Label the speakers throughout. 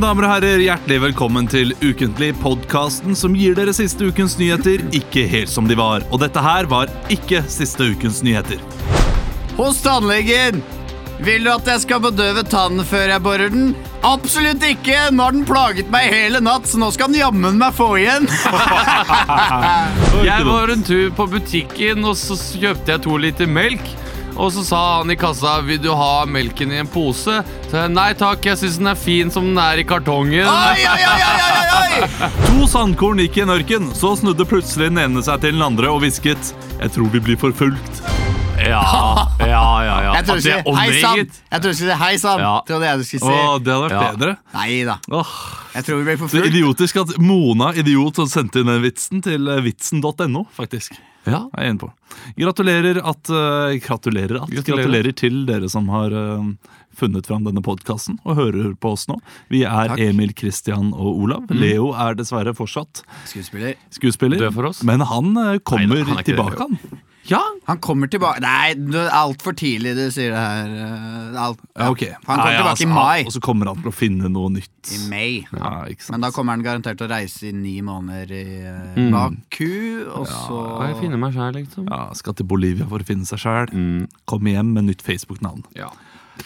Speaker 1: damer og herrer, hjertelig velkommen til Ukentlig, podkasten som gir dere siste ukens nyheter ikke helt som de var. Og dette her var ikke siste ukens nyheter.
Speaker 2: Hos tannlegen! Vil du at jeg skal bedøve tannen før jeg borer den? Absolutt ikke! Nå har den plaget meg hele natt, så nå skal den jammen meg få igjen.
Speaker 3: Jeg var en tur på butikken, og så kjøpte jeg to liter melk. Og så sa han i kassa vil du ha melken i en pose. Så jeg nei takk, jeg syns den er fin som den er i kartongen.
Speaker 2: Oi, oi, oi, oi, oi, oi!
Speaker 1: To sandkorn gikk i en ørken, så snudde plutselig den ene seg til den andre og hvisket Jeg tror vi blir forfulgt.
Speaker 3: Ja, ja, ja, ja.
Speaker 2: Jeg tror
Speaker 3: At det er
Speaker 2: ikke Hei sann!
Speaker 3: omringet.
Speaker 2: Jeg tror ikke det. Hei sann!
Speaker 3: Ja.
Speaker 2: Trodde jeg du skulle
Speaker 1: Å,
Speaker 2: si.
Speaker 1: det hadde vært
Speaker 3: Ja.
Speaker 1: bedre.
Speaker 2: Nei da.
Speaker 1: Åh,
Speaker 2: Jeg tror vi ble
Speaker 1: så
Speaker 2: forfulgt.
Speaker 1: idiotisk at Mona Idiot sendte inn den vitsen til eh, vitsen.no, faktisk.
Speaker 3: Ja.
Speaker 1: Jeg er inne på. Gratulerer at eh, Gratulerer at
Speaker 3: Gratulerer.
Speaker 1: Gratulerer til dere som har eh, funnet fram denne podkasten og hører på oss nå. Vi er
Speaker 2: Takk. Mm.
Speaker 1: Emil, Christian og Olav. Leo er dessverre fortsatt
Speaker 2: Skuespiller.
Speaker 1: skuespiller,
Speaker 3: Død for oss.
Speaker 1: men han eh, kommer
Speaker 3: Neida, han er ikke det,
Speaker 1: tilbake,
Speaker 3: Leo.
Speaker 1: han.
Speaker 3: ja.
Speaker 2: Han kommer tilbake Nei, det er altfor tidlig du sier det her. eh, Alt.
Speaker 1: Ja, ok.
Speaker 2: Han kommer
Speaker 1: Nei,
Speaker 2: tilbake i
Speaker 1: altså,
Speaker 2: mai.
Speaker 1: Og så kommer han til å finne noe nytt.
Speaker 2: I May.
Speaker 1: Ja, ikke sant?
Speaker 2: Men da kommer han garantert til å reise i ni måneder i eh,
Speaker 3: Mm.
Speaker 2: Baku, og så
Speaker 3: Jeg finner meg sjæl, liksom.
Speaker 1: ja, skal til Bolivia for å finne seg sjæl.
Speaker 2: Mm.
Speaker 1: Kommer hjem med nytt Facebook-navn.
Speaker 3: Ja.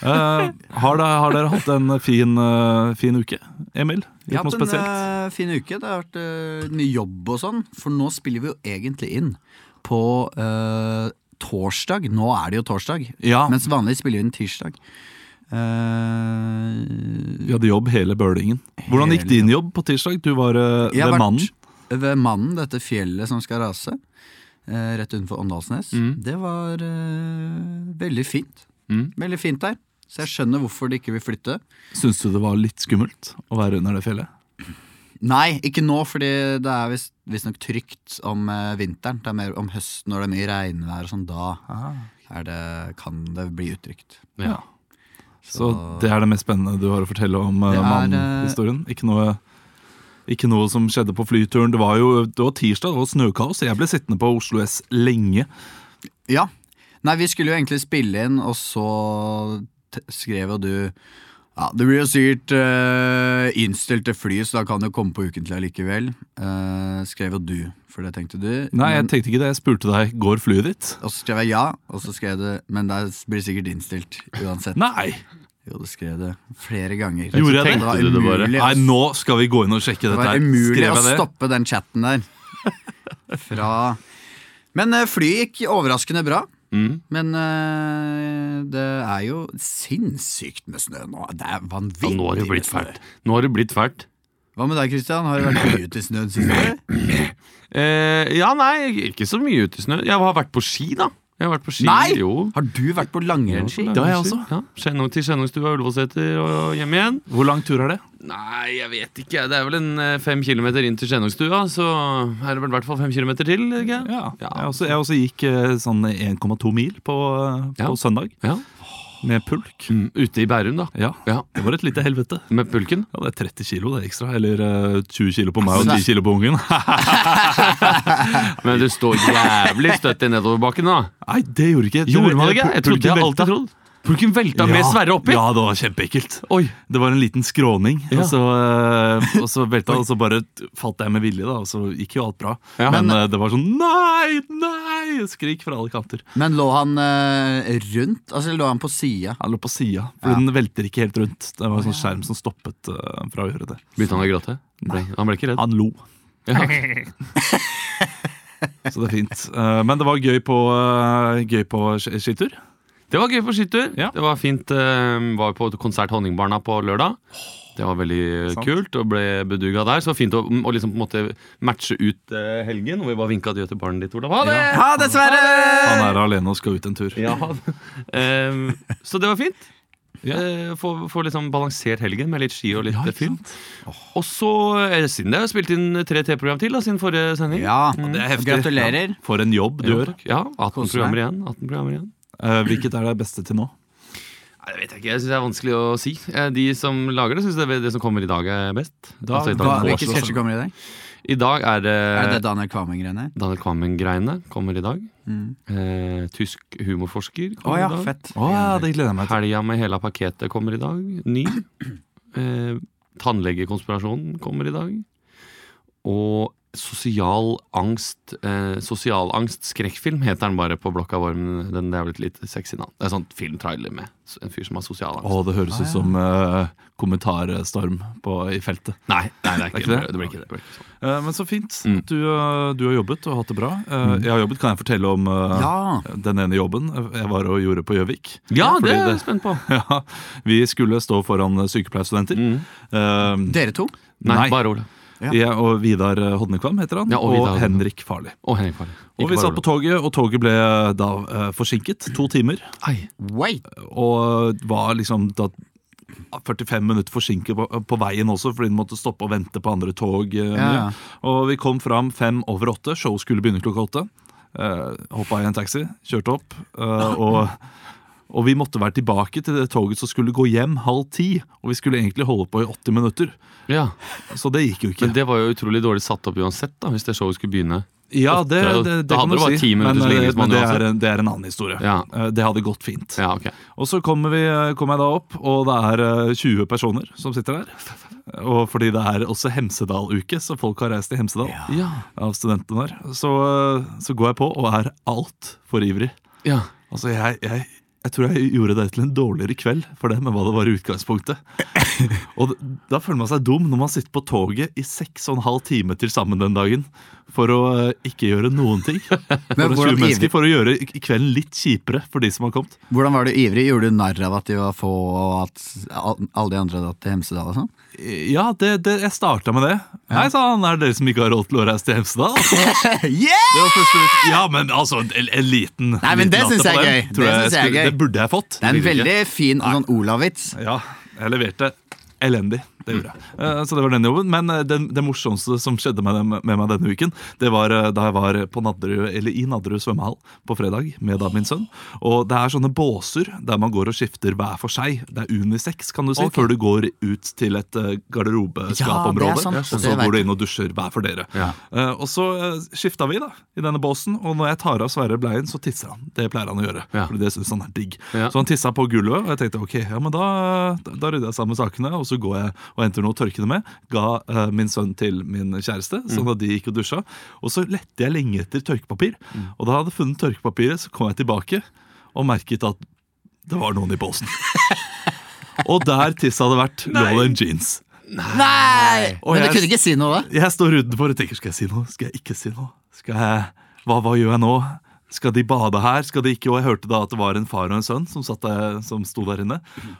Speaker 1: Eh, har, da- har dere hatt en fin, eh, fin uke, Emil?
Speaker 2: Jeg har
Speaker 1: Gjort noe
Speaker 2: hatt en
Speaker 1: spesielt?
Speaker 2: eh, fin uke. Det har vært eh, mye jobb og sånn. For nå spiller vi jo egentlig inn på eh, torsdag. Nå er det jo torsdag,
Speaker 1: Ja,
Speaker 2: mens vanlig spiller vi inn tirsdag. Eh,
Speaker 1: Vi hadde jobb hele bølingen. Hvordan gikk
Speaker 2: Hele
Speaker 1: din jobb på tirsdag? Du var eh,
Speaker 2: jeg har
Speaker 1: ved
Speaker 2: vært
Speaker 1: mannen.
Speaker 2: Ved Mannen, dette fjellet som skal rase. eh, rett utenfor Åndalsnes.
Speaker 1: Mm.
Speaker 2: Det var eh, veldig fint.
Speaker 3: Mm.
Speaker 2: Veldig fint der. Så jeg skjønner hvorfor de ikke vil flytte.
Speaker 1: Syns du det var litt skummelt å være under det fjellet?
Speaker 2: Nei, ikke nå, fordi det er visst- visstnok trygt om eh, vinteren. Det er mer om høsten når det er mye regnvær og sånn. Da er det, kan det bli utrygt.
Speaker 3: Ja.
Speaker 1: Så det er det mest spennende du har å fortelle om
Speaker 2: Det
Speaker 1: uh,
Speaker 2: er, eh,
Speaker 1: mannhistorien? Ikke noe ikke noe som skjedde på flyturen. Det var jo det var tirsdag, det var snøkaos. Jeg ble sittende på Oslo S lenge.
Speaker 2: Ja. Nei, vi skulle jo egentlig spille inn, og så t skrev jo du ja, Det blir jo sikkert eh, innstilt til fly, så da kan det jo komme på ukentlig allikevel. Eh, skrev jo du, for det tenkte du.
Speaker 1: Nei, jeg
Speaker 2: men,
Speaker 1: tenkte ikke det. Jeg spurte deg går flyet ditt.
Speaker 2: og så skrev jeg ja, og så skrev du Men det blir sikkert innstilt uansett.
Speaker 1: Nei!
Speaker 2: Jo, du skrev det flere ganger.
Speaker 1: Gjorde jeg det?
Speaker 2: var
Speaker 3: Tenkte du det bare?
Speaker 2: umulig,
Speaker 1: Nei,
Speaker 2: ass.
Speaker 1: nå skal vi gå inn og
Speaker 2: Det
Speaker 1: sjekke dette.
Speaker 2: var
Speaker 1: her.
Speaker 2: umulig
Speaker 1: Skrev
Speaker 2: å
Speaker 1: jeg det?
Speaker 2: stoppe den chatten der. Fra Men eh, flyet gikk overraskende bra.
Speaker 3: Mm.
Speaker 2: Men eh, det er jo sinnssykt med snø nå. Det er
Speaker 3: ja.
Speaker 2: vanvittig
Speaker 3: Nå har det
Speaker 2: med
Speaker 3: blitt
Speaker 2: snø.
Speaker 3: fælt. Nå har det blitt fælt.
Speaker 2: Hva med deg, Christian? Har du vært mye ute i snøen siste?
Speaker 3: Eh, ja, nei, ikke så mye ute i snø. Jeg har vært på ski, da. Jeg har vært på ski,
Speaker 2: Nei!
Speaker 3: jo.
Speaker 2: Har du vært på langrennsski?
Speaker 1: Det har jeg også.
Speaker 3: Ja. Skjennung til Skjennungstua, Ullevålseter og hjem igjen.
Speaker 1: Hvor lang tur er det?
Speaker 3: Nei, jeg vet ikke. jeg. Det er vel en eh, fem kilometer inn til Skjennungstua, så er det vel i hvert fall fem kilometer til. Ikke?
Speaker 1: Ja.
Speaker 3: Ja.
Speaker 1: Jeg, også, jeg også gikk eh, sånn 1,2 mil på, eh, på
Speaker 3: Ja.
Speaker 1: søndag
Speaker 3: Ja.
Speaker 1: med pulk.
Speaker 3: Mm, ute i Bærum, da.
Speaker 1: Ja,
Speaker 3: Ja,
Speaker 1: det var et lite helvete.
Speaker 3: Med pulken.
Speaker 1: Ja, det er 30 kilo det ekstra, eller eh, 20 kilo på meg og
Speaker 2: Altså,
Speaker 1: 10 kilo på ungen.
Speaker 3: Men du står jævlig støtt i nedoverbakken, da.
Speaker 1: Nei, det gjorde ikke. Det
Speaker 3: Gjorde man det ikke?
Speaker 1: eh, pul-
Speaker 3: Jeg trodde
Speaker 1: pulken
Speaker 3: jeg alltid
Speaker 1: velta.
Speaker 3: trodd. Pulken velta med Sverre oppi.
Speaker 1: Ja, det var kjempeekkelt.
Speaker 3: Oi.
Speaker 1: Det var en liten skråning,
Speaker 3: Ja.
Speaker 1: og, så, eh, og så velta, og så bare t- falt jeg med vilje, da, og så gikk jo alt bra.
Speaker 3: Ja.
Speaker 1: Men eh, det var sånn nei, nei! Skrik fra alle kanter.
Speaker 2: Men lå han eh, rundt? Altså, lå han på sida?
Speaker 1: Han lå på sida, for
Speaker 2: Ja.
Speaker 1: den velter ikke helt rundt. Det var en sånn skjerm som stoppet eh, fra å gjøre det.
Speaker 3: Begynte han å gråte? Ble, han ble ikke redd?
Speaker 1: Han lo.
Speaker 3: Ja.
Speaker 1: Så det er fint. Eh, Men det var gøy på, eh, gøy på sk- skitur.
Speaker 3: Det var gøy på skitur.
Speaker 1: Ja.
Speaker 3: Det var fint. eh, var på konsert Honningbarna på lørdag. Det var veldig
Speaker 1: Sant.
Speaker 3: kult og ble beduga der. Så det var fint å, å liksom på en måte matche ut eh, helgen. Og vi bare vinka adjø til barnet ditt, Olav. Ha det!
Speaker 2: Ha det, Sverre!
Speaker 1: Han er alene og skal ut en tur.
Speaker 3: Ja. Ehm, så det var fint.
Speaker 1: Ja.
Speaker 3: Eh, få, få liksom balansert helgen med litt ski og litt
Speaker 1: Ja,
Speaker 3: eh,
Speaker 1: ikke
Speaker 3: film.
Speaker 1: sant?
Speaker 3: Og så, eh, siden det, har jeg spilt inn tre T-program til da, siden forrige sending.
Speaker 2: Ja,
Speaker 1: Det er Mm. heftig.
Speaker 2: gratulerer.
Speaker 1: Ja, For en jobb du
Speaker 3: Ja,
Speaker 1: gjør.
Speaker 3: takk. ja 18
Speaker 2: Koser deg.
Speaker 3: programmer igjen. 18 programmer igjen.
Speaker 1: Eh, Hvilket er det beste til nå?
Speaker 3: Nei, det vet jeg ikke. Jeg syns det er vanskelig å si. Eh, De som lager det, syns det, det som kommer i dag, er best. Altså,
Speaker 1: Da-
Speaker 2: Hva,
Speaker 3: i, dag,
Speaker 2: hvilke sketsjer kommer i dag?
Speaker 3: I dag er det,
Speaker 2: Er det Daniel Kvammen-greiene?
Speaker 3: Daniel Kvammen-greiene kommer i dag.
Speaker 2: Mm.
Speaker 3: Eh, tysk humorforsker
Speaker 2: Å
Speaker 3: kommer
Speaker 2: ja,
Speaker 3: i dag.
Speaker 2: fett.
Speaker 1: Å ja, det gleder jeg meg til.
Speaker 3: Helga med hele pakketet kommer i dag. Ny. Eh, Tannlegekonspirasjonen kommer i dag. Og sosial angst eh, Sosial angst skrekkfilm heter den bare på blokka vår. Men den, det er vel et litt sexy navn. Det er sånn filmtrailer med s- en fyr som har sosial angst.
Speaker 1: Å, det høres ut som eh, kommentarstorm på, i feltet.
Speaker 3: Nei, nei, det er ikke det.
Speaker 1: det?
Speaker 3: Det blir ikke det. det, blir ikke sånn.
Speaker 1: Eh, men så fint.
Speaker 3: Mm.
Speaker 1: Du, eh, du har jobbet og hatt det bra. Eh, Jeg har jobbet, kan jeg fortelle om eh,
Speaker 2: Ja.
Speaker 1: den ene jobben jeg var og gjorde på Gjøvik?
Speaker 3: Ja,
Speaker 1: Fordi
Speaker 3: det er jeg spent på.
Speaker 1: ja, Vi skulle stå foran eh, sykepleierstudenter. Eh,
Speaker 2: Dere to?
Speaker 3: Mm. Nei,
Speaker 1: Nei.
Speaker 3: bare Ola.
Speaker 2: Ja.
Speaker 1: Jeg og Vidar Hodnekvam heter han,
Speaker 3: Ja,
Speaker 1: og,
Speaker 3: og Vidar Hodnekvam.
Speaker 1: Henrik Farli.
Speaker 3: Og Henrik Farley.
Speaker 1: Og vi satt på toget, og toget ble da eh, forsinket to timer.
Speaker 3: Ai.
Speaker 2: Wait!
Speaker 1: Og var liksom da 45 minutter forsinket på, på veien også, fordi den måtte stoppe og vente på andre tog. eh,
Speaker 2: Ja, ja.
Speaker 1: Og vi kom fram fem over åtte, show skulle begynne klokka åtte. Uh, Hoppa i en taxi, kjørte opp. eh, og, og vi måtte være tilbake til det toget som skulle gå hjem halv ti. Og vi skulle egentlig holde på i 80 minutter,
Speaker 3: Ja.
Speaker 1: så det gikk jo ikke.
Speaker 3: Men det var jo utrolig dårlig satt opp uansett, da, hvis det showet skulle begynne.
Speaker 1: Ja, det,
Speaker 3: Åtte,
Speaker 1: det, det, kan
Speaker 3: da
Speaker 1: du
Speaker 3: hadde det bare
Speaker 1: si.
Speaker 3: ti minutters
Speaker 1: Men, eh, men
Speaker 3: ligningsmann
Speaker 1: det,
Speaker 3: uansett.
Speaker 1: er en, det er en annen historie.
Speaker 3: Ja.
Speaker 1: Eh, Det hadde gått fint.
Speaker 3: Ja, ok.
Speaker 1: Og så kommer vi, kom jeg da opp, og det er eh, 20 personer som sitter der. Og fordi det er også Hemsedal-uke, så folk har reist til Hemsedal
Speaker 3: Ja.
Speaker 1: av studentene der, så, eh, så går jeg på og er altfor ivrig.
Speaker 3: ja.
Speaker 1: Altså, jeg, jeg, jeg tror jeg gjorde det til en dårligere kveld for dem enn hva det var i utgangspunktet. Og d- da føler man seg dum når man sitter på toget i seks og en halv time til sammen den dagen for å eh, ikke gjøre noen ting. For,
Speaker 2: Men
Speaker 1: å
Speaker 2: hvordan,
Speaker 1: skjule mennesker,
Speaker 2: ivrig,
Speaker 1: for å gjøre i- kvelden litt kjipere for de som har kommet.
Speaker 2: hvordan var du ivrig? Gjorde du narr av at de var få, og at al- alle de andre hadde dratt til Hemsedal og sånn?
Speaker 1: Ja, det, det, jeg starta med det. Hei sann, er det dere som ikke har råd til å reise til Hemsedal? Altså,
Speaker 2: yeah!
Speaker 1: Det var første litt- Ja, men altså, en, en liten
Speaker 2: Nei, men
Speaker 1: liten
Speaker 2: det
Speaker 1: latter
Speaker 2: synes
Speaker 1: på
Speaker 2: jeg er
Speaker 1: den,
Speaker 2: gøy.
Speaker 1: tror
Speaker 2: Det
Speaker 1: jeg
Speaker 2: synes jeg er
Speaker 1: skulle-
Speaker 2: gøy.
Speaker 1: Det burde jeg fått.
Speaker 2: Det er en
Speaker 1: Ville ikke.
Speaker 2: veldig fin sånn Olavits.
Speaker 1: Ja, jeg leverte elendig. Det gjorde jeg. Eh, Så det var den jobben. Men eh, den, det morsomste som skjedde med, dem, med meg denne uken, det var eh, da jeg var på Nadderud, eller i Nadderud svømmehall på fredag med da min sønn. Og det er sånne båser der man går og skifter hver for seg. Det er unisex, kan du si,
Speaker 3: Ok.
Speaker 1: før du går ut til et eh,
Speaker 2: Ja, det
Speaker 1: garderobeskapområde.
Speaker 2: er sant.
Speaker 1: og
Speaker 2: Det
Speaker 1: så
Speaker 2: vet
Speaker 1: går du inn og dusjer hver for dere.
Speaker 3: Ja.
Speaker 1: Eh, Og så eh, skifta vi da, i denne båsen, og når jeg tar av Sverre bleien, så tisser han. Det pleier han å gjøre,
Speaker 3: Ja.
Speaker 1: fordi det syns han er digg.
Speaker 3: Ja.
Speaker 1: Så han tissa på gulvet, og jeg tenkte ok, ja, men da, da rydder jeg sammen sakene. Og så går jeg og henter noe å tørke det med. Ga eh, min sønn til min kjæreste, sånn at de gikk og dusja. Og så lette jeg lenge etter tørkepapir. Og da jeg hadde funnet tørkepapiret, så kom jeg tilbake og merket at det var noen i båsen. og der tisset hadde vært, lå det en jeans.
Speaker 2: Nei!
Speaker 1: Og
Speaker 2: Men du
Speaker 1: jeg-
Speaker 2: kunne ikke si noe da?
Speaker 1: Jeg står utenfor og tenker Skal jeg si noe? Skal jeg ikke si noe? Skal jeg, hva, hva gjør jeg nå? Skal de bade her? Skal de ikke? Og jeg hørte da at det var en far og en sønn som, satt der, som sto der inne.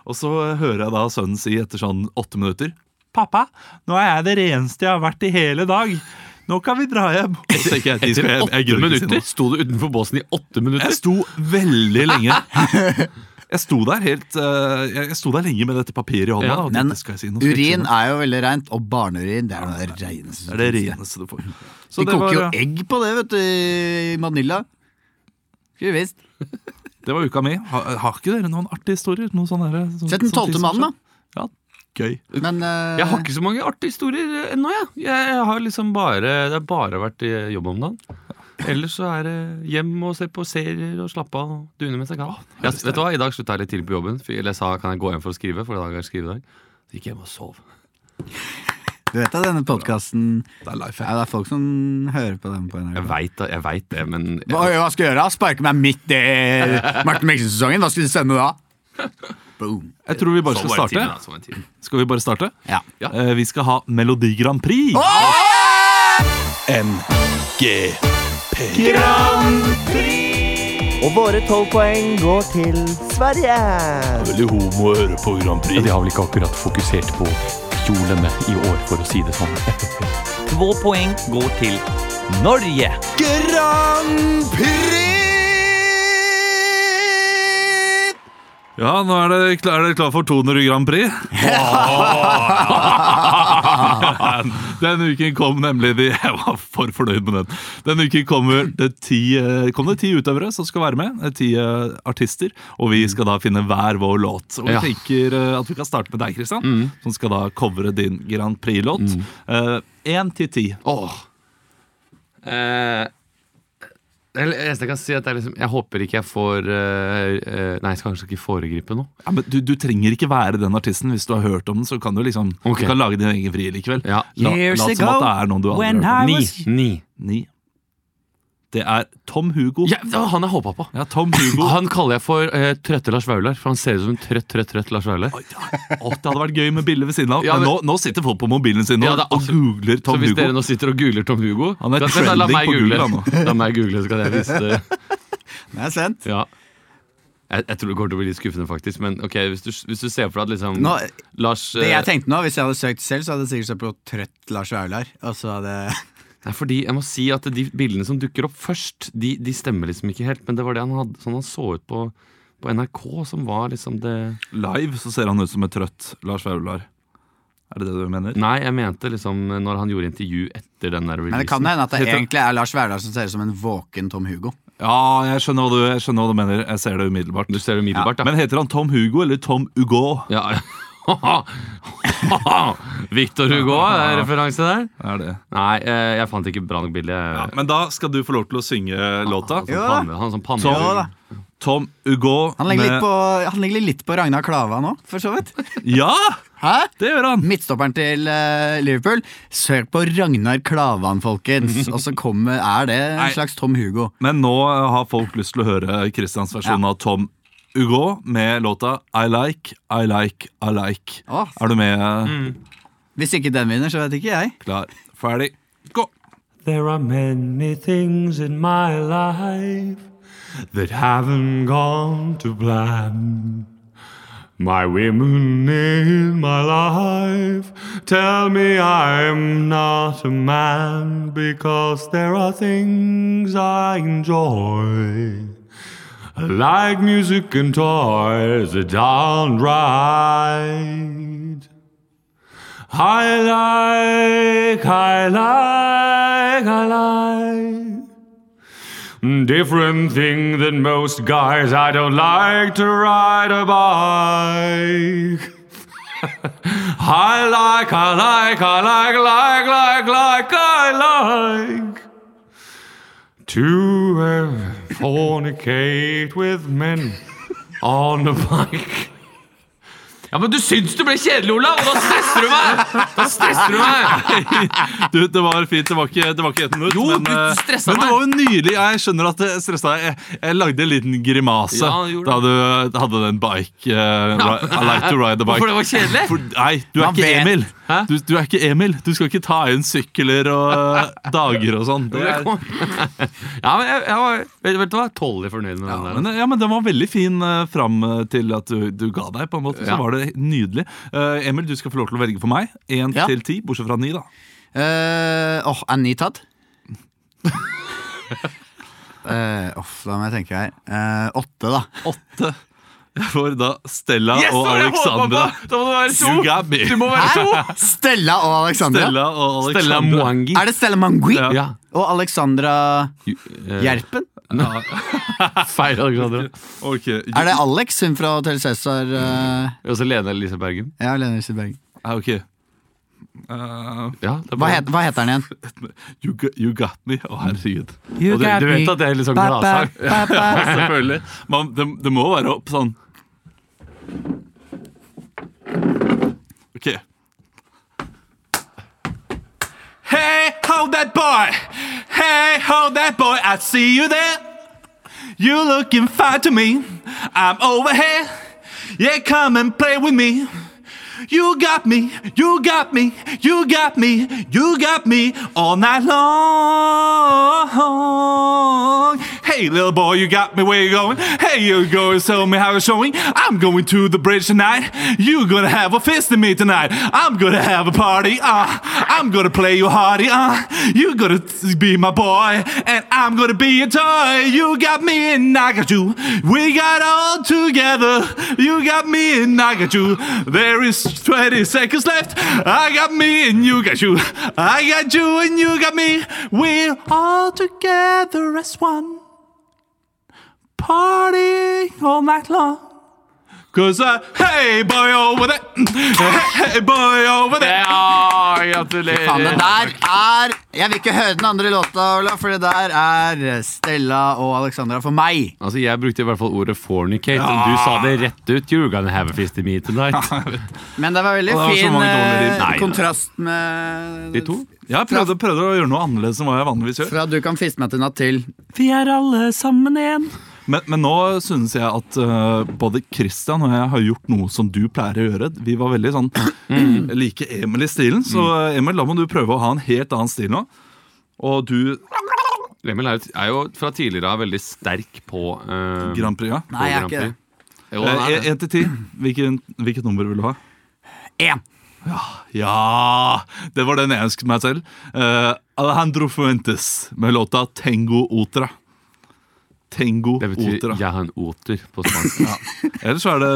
Speaker 1: Og så hører jeg da sønnen si etter sånn åtte minutter Pappa, nå er jeg det reneste jeg har vært i hele dag. Nå kan vi dra hjem. Og så tenker jeg, de skal, jeg, jeg
Speaker 3: Åtte
Speaker 1: gidder ikke si
Speaker 3: minutter?
Speaker 1: noe.
Speaker 3: Sto du utenfor båsen i åtte minutter?
Speaker 1: Jeg sto veldig lenge. Jeg sto der helt eh, Jeg jeg sto der lenge med dette papiret i hånda.
Speaker 3: Ja,
Speaker 1: da, og
Speaker 2: men
Speaker 1: tenkte, skal jeg si noe? Skal jeg ikke si
Speaker 2: Urin
Speaker 1: noe?
Speaker 2: er jo veldig rent, og barneurin det er noe av det reneste.
Speaker 1: Det er det reneste du får. Så
Speaker 2: De
Speaker 1: det
Speaker 2: koker jo
Speaker 1: var, eh,
Speaker 2: egg på det, vet du, i Manila. Skulle visst.
Speaker 1: Mm, Det var uka mi. Har, har ikke dere noen artige historier? Noe sånn derre- sånn-
Speaker 2: Sett den
Speaker 1: sånn ting
Speaker 2: tolvte
Speaker 1: som
Speaker 2: mannen, da.
Speaker 1: skjer? Ja, gøy.
Speaker 2: Men eh,
Speaker 3: Jeg har ikke så mange artige historier ennå, jeg. jeg har liksom bare, det har bare vært i jobb om dagen. Ellers så er det hjem og se på serier og slappe av og dune mens jeg kan. Jeg, vet du hva, I dag slutta jeg litt tidlig på jobben. for- Eller jeg sa kan jeg gå hjem for å skrive, for i dag er det skrivedag. Så gikk jeg hjem og sov.
Speaker 2: du vet at denne podkasten
Speaker 1: Det er life
Speaker 2: ja, Det er folk som hører på den på
Speaker 3: Jeg
Speaker 2: NRK.
Speaker 3: veit det, jeg vet det, men
Speaker 2: Hva, hva skal jeg gjøre? da? Sparke meg midt i Martin Mikkelsen-sesongen? Hva skal du stemme da? Boom.
Speaker 1: Jeg tror vi bare
Speaker 3: Sov
Speaker 1: skal
Speaker 3: bare en time,
Speaker 1: starte.
Speaker 3: da, sov en time.
Speaker 1: Skal vi bare starte?
Speaker 2: Ja.
Speaker 3: Ja.
Speaker 1: Eh, Vi skal ha Melodi Grand Prix. MGP.
Speaker 4: Og våre tolv poeng går til Sverige.
Speaker 1: Veldig homo å høre på Grand Prix.
Speaker 5: De har vel ikke akkurat fokusert på kjolene i år, for å si det sånn.
Speaker 6: Två poeng går til Norge.
Speaker 1: Ja, nå er dere klar, er dere klar for 200 Grand Prix. Denne uken kom nemlig de Jeg var for fornøyd med den. Denne uken kommer det ti, eh, kom det ti utøvere som skal være med. eh, Ti eh, artister. Og vi skal da finne hver vår låt. Og vi
Speaker 3: Ja.
Speaker 1: tenker eh, at vi kan starte med deg, Christian,
Speaker 7: Mm.
Speaker 1: som skal da covre din Grand Prix-låt. Eh, Én til ti.
Speaker 3: Åh. Eh,
Speaker 7: Det eneste jeg kan si, er at det er liksom, jeg håper ikke jeg får eh, eh, Nei, jeg skal kanskje ikke foregripe noe.
Speaker 1: Ja, men du, du trenger ikke være den artisten. Hvis du har hørt om den, så kan du liksom
Speaker 7: Ok.
Speaker 1: Du kan lage din egen fri likevel.
Speaker 7: Ja.
Speaker 1: La,
Speaker 8: Years
Speaker 1: lat som
Speaker 8: ago,
Speaker 1: at det er noen du aldri har
Speaker 8: when
Speaker 1: hørt om.
Speaker 8: I
Speaker 7: Ni.
Speaker 8: was-
Speaker 7: Ni.
Speaker 1: Ni. Det er Tom Hugo.
Speaker 7: Ja, det var han jeg håpa på.
Speaker 1: Ja, Tom Hugo.
Speaker 7: Han kaller jeg for eh, Trøtte Lars Vaular, for han ser ut som en trøtt, trøtt, trøtt Lars Vaular.
Speaker 1: Oi, ja. Å, det hadde vært gøy med bilde ved siden av.
Speaker 7: Ja,
Speaker 1: men,
Speaker 7: men-
Speaker 1: nå, nå sitter folk på mobilen sin nå,
Speaker 7: Ja, det er
Speaker 1: og googler
Speaker 7: Så
Speaker 1: Tom
Speaker 7: hvis dere
Speaker 1: Hugo.
Speaker 7: nå sitter og googler Tom Hugo
Speaker 1: Han er
Speaker 7: Da- vent da, la
Speaker 1: trending
Speaker 7: meg
Speaker 1: på Google,
Speaker 7: google.
Speaker 1: han
Speaker 7: La meg google, så kan jeg vise det.
Speaker 2: Det er sent.
Speaker 7: Ja. Jeg, jeg tror det kommer til å bli litt skuffende, faktisk. Men ok, hvis du, hvis du ser for deg at liksom
Speaker 2: Nå,
Speaker 7: Lars
Speaker 2: det
Speaker 7: eh,
Speaker 2: jeg tenkte nå, Hvis jeg hadde søkt selv, så hadde jeg sikkert sett på Trøtt Lars Vaular. Og så hadde
Speaker 7: Nei, fordi jeg må si at de bildene som dukker opp først, de, de stemmer liksom ikke helt. Men det var det han hadde, sånn han så ut på, på NRK, som var liksom det
Speaker 1: Live så ser han ut som et trøtt Lars Vaular. Er det det du mener?
Speaker 7: Nei, jeg mente liksom når han gjorde intervju etter den der releasen.
Speaker 2: Men det kan hende at det
Speaker 1: Heter-
Speaker 2: egentlig er Lars Vaular som ser ut som en våken Tom Hugo.
Speaker 1: Ja, jeg skjønner hva du, jeg skjønner hva du mener. Jeg ser det umiddelbart.
Speaker 7: Du ser det umiddelbart, da.
Speaker 1: Men heter han Tom Hugo eller Tom Hugo?
Speaker 7: ja. Victor Hugo, er referanse der?
Speaker 1: Er det.
Speaker 7: Nei, eh, jeg fant ikke bra nok bilde.
Speaker 1: Ja, men da skal du få lov til å synge låta.
Speaker 7: Han som
Speaker 2: Ja.
Speaker 7: panne, han som panne.
Speaker 1: Tom-
Speaker 2: Ja, da.
Speaker 1: Tom Hugo
Speaker 2: Han legger, litt på, han legger litt på Ragnar Klava nå, for så vidt.
Speaker 1: Ja!
Speaker 2: Hæ?
Speaker 1: Det gjør han!
Speaker 2: Midtstopperen til eh, Liverpool. Søk på Ragnar Klavan, folkens. Og så kommer, er det
Speaker 1: Nei.
Speaker 2: en slags Tom Hugo.
Speaker 1: Men nå eh, har folk lyst til å høre Christians versjon av Tom Hugo med låta I Like, I Like, I Like.
Speaker 2: Å,
Speaker 1: Er du med? eh,
Speaker 7: Mm.
Speaker 2: hvis ikke den vinner, så vet ikke jeg.
Speaker 1: Klar, ferdig, gå!
Speaker 3: There are many things in my life that haven't gone to plan. My women in my life tell me I'm not a man because there are things I enjoy. Like music and toys, are downright. I like, I like, I like. Different thing than most guys. I don't like to ride a bike. I like, I like, I like, like, like, like, I like to uh, fornicate with men on a bike.
Speaker 7: Ja, men du syns det ble kjedelig, Olav! og Da stresser du meg! Da stresser du meg!
Speaker 1: Du, det var fint. Det var ikke, det var ikke ett minutt.
Speaker 7: Jo,
Speaker 1: men,
Speaker 7: du
Speaker 1: eh,
Speaker 7: stressa
Speaker 1: men det
Speaker 7: meg.
Speaker 1: var jo nydelig. Jeg skjønner at det stressa deg. Jeg, jeg lagde en liten grimase
Speaker 7: Ja, du gjorde
Speaker 1: da du hadde den bike eh, ri- I like to ride a bike.
Speaker 7: Hvorfor det var kjedelig?
Speaker 1: For, nei, du er
Speaker 2: Man
Speaker 1: ikke
Speaker 2: vet.
Speaker 1: Emil.
Speaker 7: Hæ?
Speaker 1: Du, du er ikke Emil. Du skal ikke ta inn sykler og eh, dager og sånn. Det
Speaker 7: Det
Speaker 1: er-
Speaker 7: kom- Ja, men jeg, jeg var, vet, vet du hva? Tolv fornøyd med den der.
Speaker 1: Men, ja, men den var veldig fin eh, fram eh, til at du, du ga deg, på en måte. Så
Speaker 7: Ja.
Speaker 1: var det nydelig. Eh, Emil, du skal få lov til å velge for meg. Én
Speaker 2: Ja.
Speaker 1: til ti, bortsett fra ni, da.
Speaker 2: Eh, Åh, er ni tatt? Eh, Uff, da må jeg tenke her. Eh, åtte, da.
Speaker 1: Åtte. Jeg får da Stella
Speaker 7: Yes, det
Speaker 1: og
Speaker 7: var det jeg håpet på!
Speaker 1: Alexandra.
Speaker 7: Da må det være
Speaker 1: You
Speaker 7: to!
Speaker 1: got me.
Speaker 7: Du må være to!
Speaker 2: Stella og Alexandra.
Speaker 1: Stella og
Speaker 7: Stella
Speaker 1: Alexandra.
Speaker 7: Mwangi.
Speaker 2: Er det Stella Mangui?
Speaker 1: Ja. eh,
Speaker 7: Ja.
Speaker 2: Og Alexandra Gjerpen?
Speaker 7: Feil, Alexandra.
Speaker 1: Ok,
Speaker 2: Er det Alex, hun fra Hotell Cæsar? eh,
Speaker 7: Og så Lene Elise Bergen.
Speaker 2: ja, Lene Elise Bergen.
Speaker 1: Ja, ah, ok. Uh,
Speaker 7: Ja, det er
Speaker 2: Hva,
Speaker 7: bra.
Speaker 2: het, hva heter han igjen?
Speaker 1: you, got, you got me. Å, herregud.
Speaker 7: Og du, du vet at det er litt sånn gladsang?
Speaker 1: Selvfølgelig. Man, det, det må være opp sånn. Ok. Hey, hold that boy. Hey, hold that boy. I see you there. You looking fine to me. I'm over here. Yeah, come and play with me. You got me, you got me, you got me, you got me all night long. Hey, little boy, you got me where you going? Hey, you go tell me how it's showing. I'm going to the bridge tonight. you gonna have a fist in me tonight. I'm gonna have a party. Uh, I'm gonna play you hardy. Uh, you gonna t- be my boy, and I'm gonna be your toy. You got me, and I got you. We got all together. You got me, and I got you. There is 20 seconds left. I got me, and you got you. I got you, and you got me. We're all together as one. Party all night long. Cause I, hey boy over there Hey boy over there
Speaker 3: Ja,
Speaker 9: Faen, det
Speaker 3: gratulerer!
Speaker 9: der er Jeg vil ikke høre den andre låta, Ola, for det der er Stella og Alexandra for meg.
Speaker 3: Altså, Jeg brukte i hvert fall ordet fornicate, og du sa det rett ut. You're gonna have a fist in me tonight.
Speaker 9: Men det var veldig
Speaker 1: Og det var så
Speaker 9: fin
Speaker 1: mange dårlige rim.
Speaker 9: eh,
Speaker 1: Nei,
Speaker 9: kontrast med
Speaker 3: De to?
Speaker 1: Jeg prøvde, prøvde å gjøre noe annerledes enn hva jeg vanligvis gjør.
Speaker 9: Fra du kan fiste meg til natt til
Speaker 1: Vi er alle sammen igjen. Men, men nå synes jeg at eh, både Christian og jeg har gjort noe som du pleier å gjøre. Vi var veldig sånn like Emil i stilen. Så eh, Emil, da må du prøve å ha en helt annen stil nå. Og du,
Speaker 3: Emil er jo- er jo fra tidligere av veldig sterk på eh,
Speaker 1: Grand Prix, ja.
Speaker 9: Nei, jeg er
Speaker 3: Grand
Speaker 9: ikke det.
Speaker 3: Prix. Jo, han er
Speaker 9: Eh,
Speaker 3: det.
Speaker 1: Én til ti. Hvilken- Hvilket nummer vil du ha?
Speaker 9: Én.
Speaker 1: Ja! Det var den jeg ønsket meg selv. Eh, Alejandro Fuentes med låta 'Tengo Otra'. Tengo
Speaker 3: Det betyr
Speaker 1: Otra.
Speaker 3: 'jeg har en oter' på spansk.
Speaker 1: Ellers så er det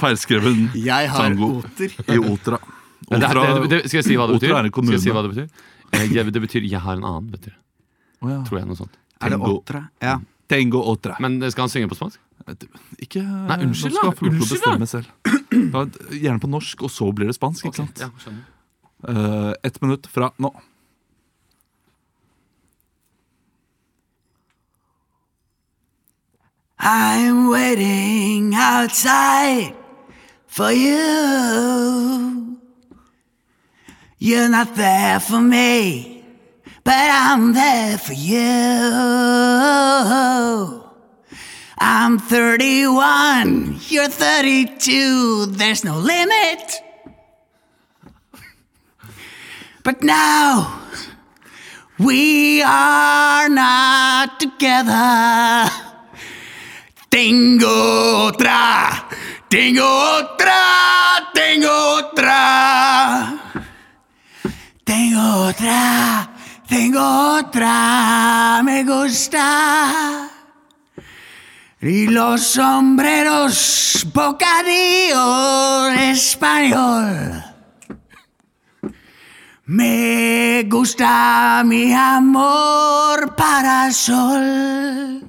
Speaker 1: feilskreven
Speaker 9: Jeg har
Speaker 1: tango
Speaker 9: oter.
Speaker 1: i Otra.
Speaker 3: Men det,
Speaker 1: Otra
Speaker 3: det, det, skal jeg si hva det
Speaker 1: Otra
Speaker 3: betyr?
Speaker 1: er en
Speaker 3: Skal
Speaker 1: kommune.
Speaker 3: jeg si hva det betyr? Eh, jeg- Det betyr 'jeg har en annen', vet du.
Speaker 1: Å ja.
Speaker 3: Tror jeg noe sånt.
Speaker 9: Er det
Speaker 1: Tengo.
Speaker 9: otra? Ja.
Speaker 1: Tengo Otra.
Speaker 3: Men eh, skal han synge på spansk?
Speaker 1: Ikke
Speaker 3: Nei, unnskyld
Speaker 1: nå skal
Speaker 3: da,
Speaker 1: jeg få lov til å
Speaker 3: unnskyld da.
Speaker 1: bestemme selv. Da, gjerne på norsk, og så blir det spansk. ikke sant?
Speaker 3: Ja, skjønner.
Speaker 1: Eh, Ett minutt fra nå.
Speaker 9: I'm waiting outside for you. You're not there for me, but I'm there for you. I'm 31, you're 32, there's no limit. But now we are not together. Tengo otra, tengo otra, tengo otra. Tengo otra, tengo otra, me gusta. Y los sombreros bocadillo español. Me gusta mi amor para sol.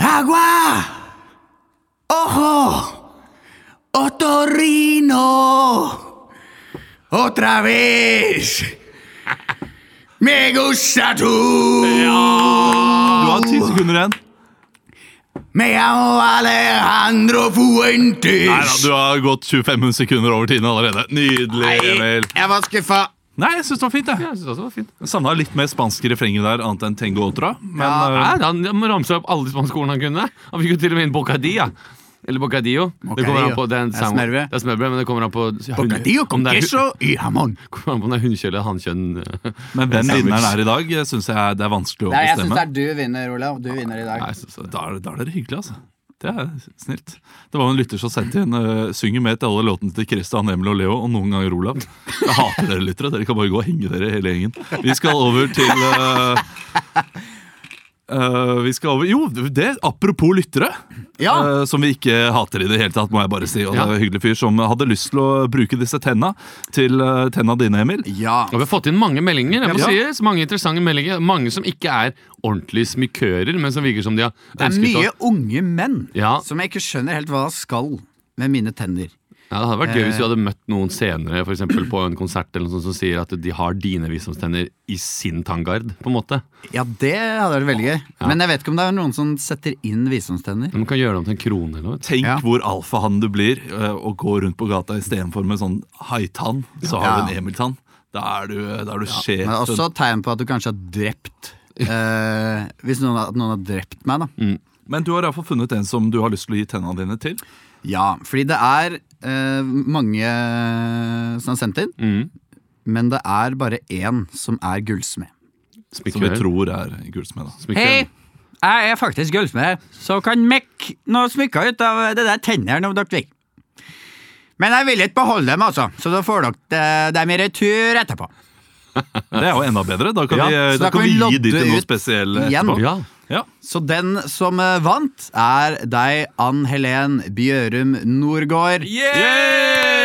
Speaker 9: Agua, ojo, otorrino, otra vez. Me gusta tú.
Speaker 1: Du har ti sekunder igjen.
Speaker 9: Me llamo Alejandro Fuentes.
Speaker 1: Nei da, du har gått 25 sekunder over tiden allerede. Nydelig, Emil.
Speaker 9: Jeg var skuffa.
Speaker 1: Nei, jeg syns det var fint. jeg.
Speaker 3: Jeg synes også det var fint.
Speaker 1: Savna litt mer spansk i refrenget der, annet enn Tengo Otra. Men eh,
Speaker 3: Nei, han han ramsa opp alle de spanske ordene han kunne. Han fikk jo til og med inn bocadilla. Eller bocadillo. Det kommer an på det er en
Speaker 9: Det er
Speaker 3: sang-
Speaker 9: smørbrød.
Speaker 3: Det er smørbrød, men det kommer an på
Speaker 9: Bocadillo
Speaker 3: om
Speaker 9: con
Speaker 3: det er-
Speaker 9: queso y jamón.
Speaker 3: kommer an på om det er hunnkjønn eller hannkjønn.
Speaker 1: men hvem
Speaker 3: Sandwich.
Speaker 1: vinneren er i dag, syns jeg det er vanskelig å bestemme.
Speaker 9: du vinner, Olav. Du vinner i dag.
Speaker 3: Nei, så- så-
Speaker 1: Da er, da er dere hyggelige, altså. Det er snilt. Det var jo en lytter som sendte inn eh, synger med til alle låtene til Christian, Emil og Leo, og noen ganger Olav. Jeg hater dere lyttere. Dere kan bare gå og henge dere hele gjengen. Vi skal over til eh, eh, vi skal over, Jo, det, apropos lyttere,
Speaker 9: Ja.
Speaker 3: Øh,
Speaker 1: eh, som vi ikke hater i det hele tatt, må jeg bare si. Og det
Speaker 3: Ja.
Speaker 1: er en hyggelig fyr som hadde lyst til å bruke disse tenna til eh, tenna dine, Emil.
Speaker 9: Ja.
Speaker 3: Og vi har fått inn mange meldinger. Jeg må
Speaker 1: Ja.
Speaker 3: sies, mange interessante meldinger Mange som ikke er ordentlige smykører, men som virker som de har
Speaker 9: Det er
Speaker 3: ønsket
Speaker 9: mye
Speaker 3: å-
Speaker 9: unge menn
Speaker 3: Ja.
Speaker 9: som jeg ikke skjønner helt hva skal med mine tenner.
Speaker 3: ja, Det hadde vært gøy hvis vi
Speaker 2: Eh.
Speaker 3: hadde møtt noen senere for eksempel, på en konsert eller noe sånt, som sier at de har dine visdomstenner i sin tanngard. på en måte
Speaker 9: Ja, det hadde vært veldig gøy. Men jeg vet ikke om det er noen som setter inn visdomstenner.
Speaker 3: Men Man kan gjøre det om til en krone eller noe.
Speaker 1: Tenk
Speaker 9: Ja.
Speaker 1: hvor alfahann du blir eh, og gå rundt på gata istedenfor med sånn haitann. Så har du
Speaker 9: Ja.
Speaker 1: en Emil-tann. Da er du, da er du sjef.
Speaker 9: Men det er også et tegn på at du kanskje har drept eh, Hvis noen, at noen har drept meg, da.
Speaker 1: Men du har iallfall funnet en som du har lyst til å gi tenna dine til.
Speaker 9: Ja, fordi det er eh, mange som har sendt inn,
Speaker 3: Mm.
Speaker 9: men det er bare én som er gullsmed.
Speaker 1: Som vi
Speaker 3: Smykører.
Speaker 1: tror er gullsmed. da.
Speaker 3: Smykører.
Speaker 9: jeg er faktisk gullsmed, så kan mekk noe smykker ut av det der tennene om dere vil. eh, Men jeg vil ikke beholde dem, altså, så da får dere dem i retur etterpå.
Speaker 1: Det er jo enda bedre. Da kan
Speaker 3: Ja,
Speaker 1: vi,
Speaker 2: så
Speaker 1: da
Speaker 2: da kan
Speaker 1: kan vi
Speaker 2: vi
Speaker 1: gi de
Speaker 2: lodde
Speaker 1: til noe
Speaker 2: ut
Speaker 1: spesielt
Speaker 2: igjen.
Speaker 1: etterpå.
Speaker 3: Ja.
Speaker 1: Ja.
Speaker 2: Så den som eh, vant, er deg, Ann Helen Bjørum Norgård.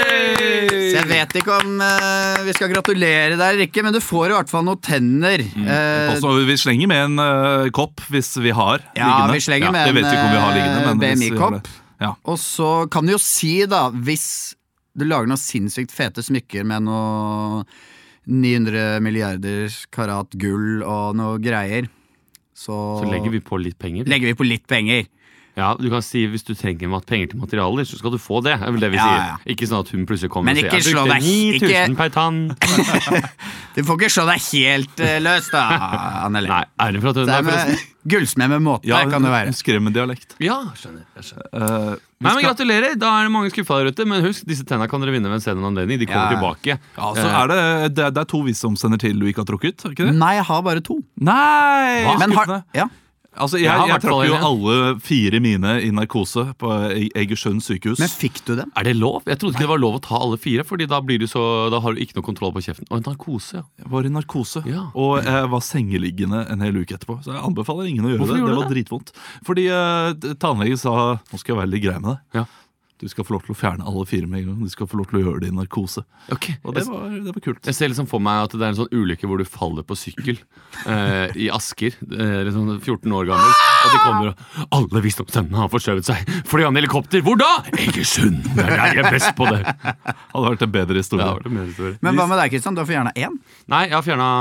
Speaker 2: Så jeg vet ikke om eh, vi skal gratulere deg eller ikke, men du får i hvert fall noen tenner.
Speaker 9: Mm,
Speaker 2: Eh,
Speaker 1: Også, vi slenger med en eh, kopp hvis vi har
Speaker 2: Ja,
Speaker 1: liggende.
Speaker 2: vi slenger med
Speaker 1: jeg
Speaker 2: en,
Speaker 1: vet ikke om vi har liggende, men
Speaker 2: eh,
Speaker 1: hvis vi har det.
Speaker 2: BMI-kopp.
Speaker 1: Ja.
Speaker 2: og så kan du jo si, da, hvis du lager noen sinnssykt fete smykker med noe 900 milliarder karat gull og noe greier, så,
Speaker 3: Så legger vi på litt penger.
Speaker 2: legger vi på litt penger.
Speaker 3: Ja, du kan si Hvis du trenger mat- penger til materialer, så skal du få det. er vel det vi
Speaker 2: Ja,
Speaker 3: sier.
Speaker 2: ja.
Speaker 3: Ikke sånn at hun plutselig kommer
Speaker 2: Men
Speaker 3: og sier
Speaker 2: ikke slå deg-
Speaker 3: Jeg brukte 9000
Speaker 2: ikke-
Speaker 3: per tann.
Speaker 2: Du får ikke se deg helt eh, løs, da, Anneli.
Speaker 3: Nei, er det fra
Speaker 2: Det er
Speaker 3: Trøndelag, forresten?
Speaker 2: med Gullsmed med måte,
Speaker 1: Ja,
Speaker 2: kan det være.
Speaker 1: hun skrev med dialekt.
Speaker 3: Ja, skjønner. jeg skjønner.
Speaker 1: Eh, vi
Speaker 3: Nei, men
Speaker 1: skal-
Speaker 3: Gratulerer! Da er det mange skuffa der ute. Men husk, disse tenna kan dere vinne ved en senere anledning. De kommer
Speaker 2: Ja.
Speaker 3: tilbake.
Speaker 1: ja, så
Speaker 2: Eh.
Speaker 1: er det, det, det er to visdomstenner til du ikke har trukket? er det Ikke det?
Speaker 2: Nei, jeg har bare to.
Speaker 1: Nei!
Speaker 2: Men har,
Speaker 1: skuffende.
Speaker 2: ja.
Speaker 1: altså, jeg,
Speaker 3: Jeg har
Speaker 1: jeg,
Speaker 3: i hvert fall
Speaker 1: trakk jo
Speaker 3: en, ja.
Speaker 1: alle fire mine i narkose på E- Egersund sykehus.
Speaker 2: Men fikk du dem?
Speaker 3: Er det lov? Jeg trodde ikke det var lov å ta alle fire, Fordi da, blir du så, da har du ikke noe kontroll på kjeften. Og en narkose, ja.
Speaker 1: Jeg var i narkose,
Speaker 3: Ja.
Speaker 1: og jeg var sengeliggende en hel uke etterpå. Så jeg anbefaler ingen å gjøre
Speaker 3: Hvorfor
Speaker 1: det.
Speaker 3: gjorde
Speaker 1: Det
Speaker 3: du
Speaker 1: var dritvondt. Fordi eh, tannlegen sa Nå skal jeg være litt grei med deg.
Speaker 3: Ja.
Speaker 1: Du skal få lov til å fjerne alle fire med en gang. Du skal få lov til å gjøre det i narkose.
Speaker 3: Ok,
Speaker 1: Og det
Speaker 3: jeg,
Speaker 1: var, det var kult.
Speaker 3: jeg ser liksom for meg at det er en sånn ulykke hvor du faller på sykkel eh, i Asker. Eh, liksom 14 år gammel. Og de kommer og Alle visdomstennene har forskjøvet seg! Fly an helikopter! Hvor da? Egersund! Det er der jeg er best på det.
Speaker 1: Hadde vært en bedre
Speaker 3: Ja,
Speaker 1: historie.
Speaker 3: det var det mer
Speaker 2: Men hva med deg, Kristian? Du får gjerne én.
Speaker 3: Nei, jeg har fjerna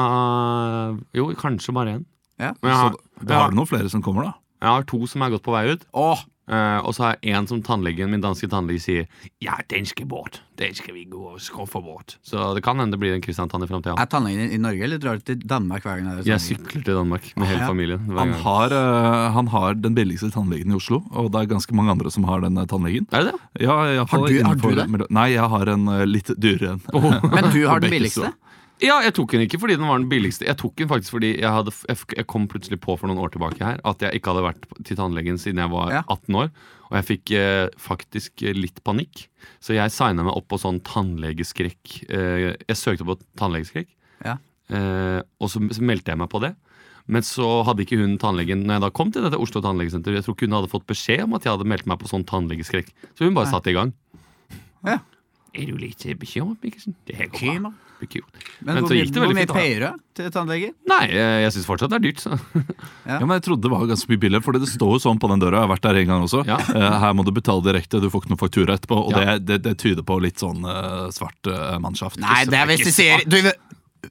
Speaker 3: Jo, kanskje bare én.
Speaker 2: Ja.
Speaker 3: Men jeg har,
Speaker 1: Da har du noen flere som kommer, da.
Speaker 3: jeg har to som er godt på vei ut.
Speaker 2: Åh,
Speaker 3: Eh, og så har jeg en som tannlegen, min danske tannlege sier Ja, den skal bort. Den skal vi gå og skaffe bort. Så det kan hende det blir en Kristian-tann i framtida.
Speaker 2: er tannlegen din i Norge, eller drar du til Danmark hver gang det er
Speaker 3: Jeg
Speaker 2: tannlege?
Speaker 3: sykler til Danmark med hele
Speaker 2: Ja.
Speaker 3: familien. Hver
Speaker 1: Han
Speaker 3: gang.
Speaker 1: har, eh, han har den billigste tannlegen i Oslo, og det er ganske mange andre som har den eh, tannlegen.
Speaker 3: Er det det?
Speaker 1: Ja, i alle fall
Speaker 2: Har du- har
Speaker 1: innenfor-
Speaker 2: du det?
Speaker 1: Nei, jeg har en eh, litt dyrere en.
Speaker 2: Men du har den
Speaker 1: På
Speaker 2: billigste?
Speaker 1: Bekkestua.
Speaker 3: Ja, jeg tok den ikke fordi den var den billigste. Jeg tok den faktisk fordi jeg, hadde, jeg f- jeg kom plutselig på for noen år tilbake her at jeg ikke hadde vært på- til tannlegen siden jeg var
Speaker 2: Ja.
Speaker 3: 18 år. Og jeg fikk eh, faktisk eh, litt panikk, så jeg signa meg opp på sånn tannlegeskrekk. Eh, jeg søkte på tannlegeskrekk,
Speaker 2: Ja.
Speaker 3: eh, og så, så meldte jeg meg på det. Men så hadde ikke hun tannlegen Når jeg da kom til dette Oslo tannlegesenter, jeg tror ikke hun hadde fått beskjed om at jeg hadde meldt meg på sånn tannlegeskrekk. Så hun bare satte i gang.
Speaker 2: Ja.
Speaker 3: Er du litt bekymret, Mikkelsen? Det her går bra.
Speaker 2: Kim, da?
Speaker 3: Bekymret.
Speaker 2: Men,
Speaker 3: Men
Speaker 2: hvor,
Speaker 3: så
Speaker 2: mye-
Speaker 3: gikk det
Speaker 2: hvor
Speaker 3: veldig
Speaker 2: mye
Speaker 3: fint, da.
Speaker 2: payer du til tannleger?
Speaker 3: Nei, jeg, jeg syns fortsatt det er dyrt. Så.
Speaker 1: Ja, men Jeg trodde det var ganske mye billigere, for det står jo sånn på den døra. Jeg har vært der en gang også.
Speaker 3: Ja.
Speaker 1: Eh, Her må du betale direkte, du får ikke noe faktura etterpå. Og
Speaker 3: Ja.
Speaker 1: det, det, det tyder på litt sånn eh, svart uh, mannschaft.
Speaker 2: Nei, det er hvis de sier du,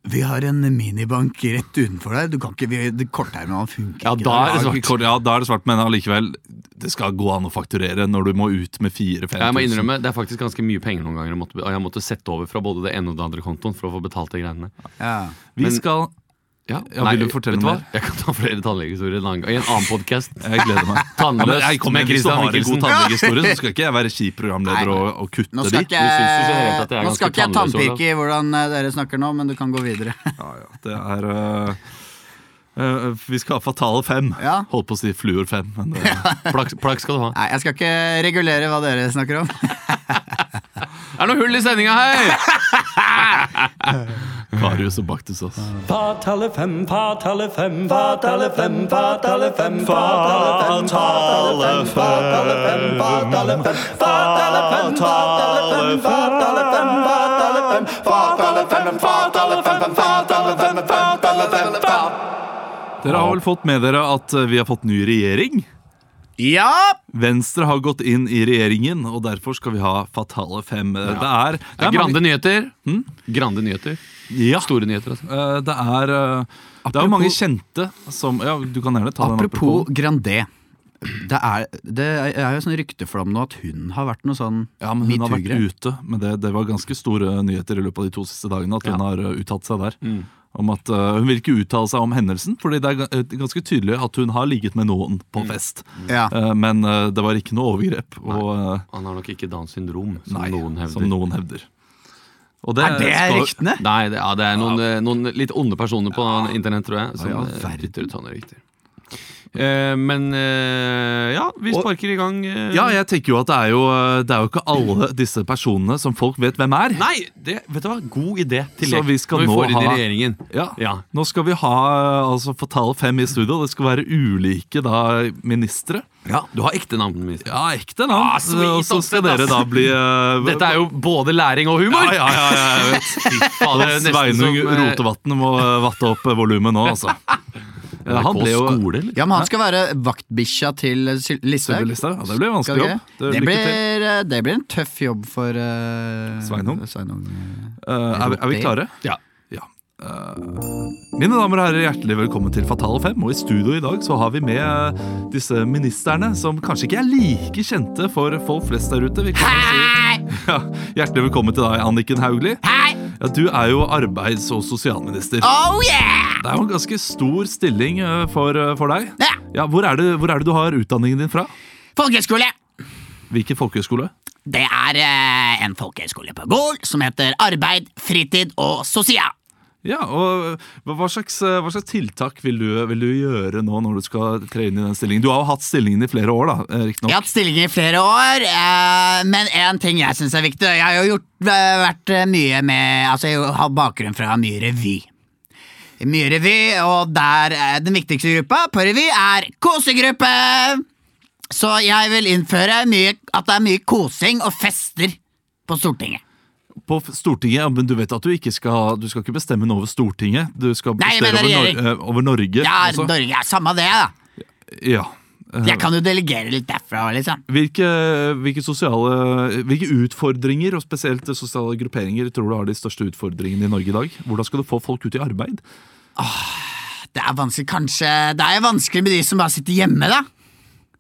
Speaker 2: Vi har en minibank rett utenfor deg. Du kan ikke, vi, det Kortermene funker
Speaker 3: Ja,
Speaker 2: ikke.
Speaker 3: da er
Speaker 1: Ja,
Speaker 3: det svart.
Speaker 1: kort- ja, da er det svart, men allikevel. Det skal gå an å fakturere når du må ut med
Speaker 3: Jeg må
Speaker 1: 4000-5000.
Speaker 3: innrømme, Det er faktisk ganske mye penger noen ganger, jeg måtte- og jeg måtte sette over fra både det ene og det andre kontoen for å få betalt de greiene.
Speaker 2: Ja.
Speaker 1: Vi
Speaker 3: Men-
Speaker 1: skal
Speaker 3: Ja,
Speaker 1: Ja, vil du fortelle
Speaker 3: vet hva?
Speaker 1: mer?
Speaker 3: Jeg kan ta flere tannlegehistorier en annen gang. I en annen podkast.
Speaker 1: Jeg gleder meg.
Speaker 3: Tannløst
Speaker 1: men jeg kommer med
Speaker 3: med Christian
Speaker 1: Christian Har en
Speaker 3: Mikkelsen.
Speaker 1: god tannlegehistorie, så skal ikke jeg være kjip programleder
Speaker 2: Nei.
Speaker 1: og, og kutte
Speaker 2: Nå skal
Speaker 1: de.
Speaker 2: ikke
Speaker 3: synes jo generelt
Speaker 2: jeg,
Speaker 3: at jeg er
Speaker 2: nå skal
Speaker 3: ganske
Speaker 2: ikke jeg
Speaker 3: tannløs, Olav.
Speaker 2: tannpike i hvordan eh, dere snakker nå, men du kan gå videre.
Speaker 1: Ja, ja, det er øh, øh, Vi skal ha Fatale 5.
Speaker 2: Ja.
Speaker 1: Holdt på å si Fluor 5. Men det,
Speaker 3: Plakk, plakk skal du ha.
Speaker 2: Nei, jeg skal ikke regulere hva dere snakker om.
Speaker 3: Det er noe hull i sendinga her!
Speaker 1: Karius og Baktus også.
Speaker 4: Fatale fem, fatale fem, fatale fem, fatale fem, fatale fem, fatale fem, fatale fem, fatale fem, fatale fem, fatale fem, fatale fem, fatale fem, fatale fem, fatale fem, fatale fem, fatale fem, fatale fem.
Speaker 1: Dere har vel fått med dere at øh, vi har fått ny regjering?
Speaker 2: Ja!
Speaker 1: Venstre har gått inn i regjeringen, og derfor skal vi ha Fatale 5. Det er, det er
Speaker 3: Grande nyheter. Grande nyheter.
Speaker 1: Hm? Ja.
Speaker 3: Store nyheter, altså.
Speaker 1: øh, det er øh, det er jo mange kjente som Ja, du kan gjerne ta den
Speaker 2: Apropos Grandé. Det er, det er jo sånn rykteflamme nå at hun har vært noe sånn
Speaker 1: Ja, men Hun har vært
Speaker 2: metoo-greier.
Speaker 1: ute, men det, det var ganske store nyheter i løpet av de to siste dagene. At hun har uh, uttalt seg der. Om at uh, Hun vil ikke uttale seg om hendelsen, Fordi det er ga- eh, ganske tydelig at hun har ligget med noen på fest.
Speaker 2: Ja.
Speaker 1: Eh, men eh, det var ikke noe overgrep, og, eh,
Speaker 3: Han har nok ikke Downs syndrom, som
Speaker 1: nei,
Speaker 3: noen hevder.
Speaker 1: som noen hevder. Og
Speaker 2: Er det
Speaker 1: skal-
Speaker 2: ryktene?
Speaker 3: Nei, det, ja, det er noen, eh, noen litt onde personer på internett, tror jeg. Som
Speaker 2: Ja,
Speaker 3: ja,
Speaker 2: verden.
Speaker 3: dytter ut sånne rykter.
Speaker 7: Eh, men eh, ja, vi
Speaker 1: Og-
Speaker 7: sparker i gang. eh,
Speaker 1: Ja, jeg tenker jo at det er jo, eh, det er jo ikke alle disse personene som folk vet hvem er.
Speaker 7: Nei, det, vet du hva? God idé til
Speaker 1: Så
Speaker 7: lek.
Speaker 1: vi skal
Speaker 7: når vi
Speaker 1: nå
Speaker 7: får inn
Speaker 1: ha-
Speaker 7: i regjeringen.
Speaker 1: Ja.
Speaker 7: Ja.
Speaker 1: Nå skal vi ha altså, Fatal fem i studio. Det skal være ulike da, ministre.
Speaker 7: Du har ekte navn. minister.
Speaker 1: Ja, ekte navn.
Speaker 7: Ah, sweet,
Speaker 1: og så skal
Speaker 7: oppsett,
Speaker 1: dere
Speaker 7: ass.
Speaker 1: da bli eh,
Speaker 7: Dette er jo både læring og humor!
Speaker 1: Ja, ja, ja, ja, jeg vet.
Speaker 7: Faen, det er nesten
Speaker 1: Sveinung
Speaker 7: som, eh,
Speaker 1: Rotevatn må eh, vatte opp eh, volumet nå, altså. Eh, Han ble jo
Speaker 7: skole, eller?
Speaker 2: Ja, men han skal være vaktbikkja til Sil-
Speaker 1: Sylvi
Speaker 2: Listhaug.
Speaker 1: Listhaug. Ja, Det blir
Speaker 2: Skal
Speaker 1: en vanskelig
Speaker 2: det
Speaker 1: jobb.
Speaker 2: ikke?
Speaker 1: Det-
Speaker 2: Det
Speaker 1: lykke til.
Speaker 2: blir, eh, det blir en tøff jobb for eh,
Speaker 1: Sveinung.
Speaker 2: Sveinung.
Speaker 1: Eh, er, vi, er vi klare?
Speaker 7: Ja.
Speaker 1: Ja. Eh, mine damer og herrer, hjertelig velkommen til Fatale 5. Og i studio i dag så har vi med eh, disse ministerne som kanskje ikke er like kjente for folk flest der ute. Vi kan jo si. ja, hjertelig velkommen til deg, Anniken Hauglie. Ja, du er jo arbeids- og sosialminister.
Speaker 7: Oh,
Speaker 1: Det er jo en ganske stor stilling eh, for, eh, for deg.
Speaker 2: Ja.
Speaker 1: hvor, er det, hvor er det du har utdanningen din fra?
Speaker 2: Folkehøyskole!
Speaker 1: Hvilken folkehøyskole?
Speaker 2: Det er eh, en folkehøyskole på Gol som heter Arbeid, fritid og sosial.
Speaker 1: Ja, og hva hva slags, eh, hva slags tiltak vil du, vil du gjøre nå når du skal tre inn i den stillingen? Du har jo hatt stillingen i flere år, da. eh,
Speaker 2: Jeg
Speaker 1: Riktignok.
Speaker 2: har hatt stillinger i flere år, eh, men én ting jeg syns er viktig Jeg har jo gjort, eh, vært eh, mye med Altså, jeg har bakgrunn fra mye revy. Mye revy, og der eh, den viktigste gruppa på revy er kosegruppe! Så jeg vil innføre mye, at det er mye kosing og fester på Stortinget.
Speaker 1: På f- Stortinget, ja, men du vet at du ikke skal Du skal ikke bestemme noe over Stortinget. Du skal
Speaker 2: Nei, jeg
Speaker 1: bestemme
Speaker 2: mener
Speaker 1: over, Nor
Speaker 2: regjering.
Speaker 1: eh, over Norge.
Speaker 2: Ja,
Speaker 1: også.
Speaker 2: Norge ja, Samme det, da.
Speaker 1: ja. Eh,
Speaker 2: Jeg kan jo delegere litt derfra, liksom.
Speaker 1: Hvilke, hvilke sosiale Hvilke utfordringer, og spesielt sosiale grupperinger, tror du har de største utfordringene i Norge i dag? Hvordan skal du få folk ut i arbeid?
Speaker 2: Det er vanskelig, kanskje Det er jo vanskelig med de som bare sitter hjemme, da.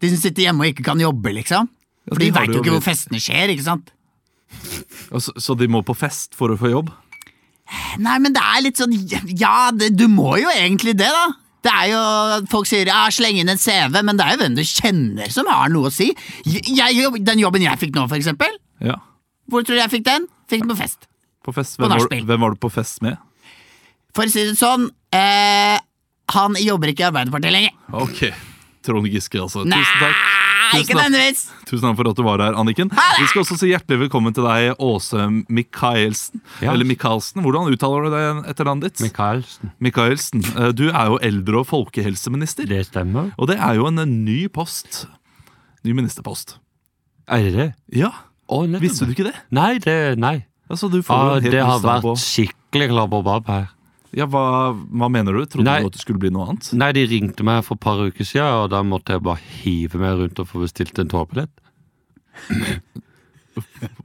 Speaker 2: De som sitter hjemme og ikke kan jobbe, liksom.
Speaker 1: Ja,
Speaker 2: For de
Speaker 1: de har
Speaker 2: veit
Speaker 1: det
Speaker 2: jo
Speaker 1: jo
Speaker 2: ikke hvor
Speaker 1: blitt.
Speaker 2: festene skjer, ikke sant.
Speaker 1: Altså, så de må på fest for å få jobb?
Speaker 2: Nei, men det er litt sånn Ja, det, du må jo egentlig det, da. Det er jo, Folk sier ja, 'sleng inn en CV', men det er jo hvem du kjenner som har noe å si. Jeg, jeg- den jobben jeg fikk nå, for eksempel.
Speaker 1: Ja.
Speaker 2: Hvor tror du jeg fikk den? Fikk den på fest.
Speaker 1: På fest,
Speaker 2: På
Speaker 1: hvem, var,
Speaker 2: nachspiel.
Speaker 1: hvem var du på fest med?
Speaker 2: For å si det sånn, eh, han jobber ikke i Arbeiderpartiet lenger.
Speaker 1: Ok. Trond Giske, altså.
Speaker 2: Nei,
Speaker 1: Tusen takk.
Speaker 2: ikke
Speaker 1: Tusen takk.
Speaker 2: nødvendigvis.
Speaker 1: Tusen takk for at du var her, Anniken. Vi skal også si hjertelig velkommen til deg, Åse Michaelsen.
Speaker 7: Ja.
Speaker 1: Eller Michaelsen. Hvordan uttaler du det etternavnet ditt?
Speaker 3: Michaelsen.
Speaker 1: Michaelsen. Eh, Du er jo eldre- og folkehelseminister.
Speaker 3: Det stemmer.
Speaker 1: Og det er jo en eh, ny post. Ny ministerpost.
Speaker 3: Er det det?
Speaker 1: Ja,
Speaker 3: Å, nettopp.
Speaker 1: visste du ikke det?
Speaker 3: Nei, det, nei.
Speaker 1: Altså, du får jo
Speaker 3: Ah,
Speaker 1: en helt
Speaker 3: det har
Speaker 1: ny start på
Speaker 3: vært skikkelig klabbobab her.
Speaker 1: Ja, hva, hva mener du? Trodde
Speaker 3: Nei.
Speaker 1: du at det skulle bli noe annet?
Speaker 3: Nei, de ringte meg for et par uker siden, og da måtte jeg bare hive meg rundt og få bestilt en togbillett.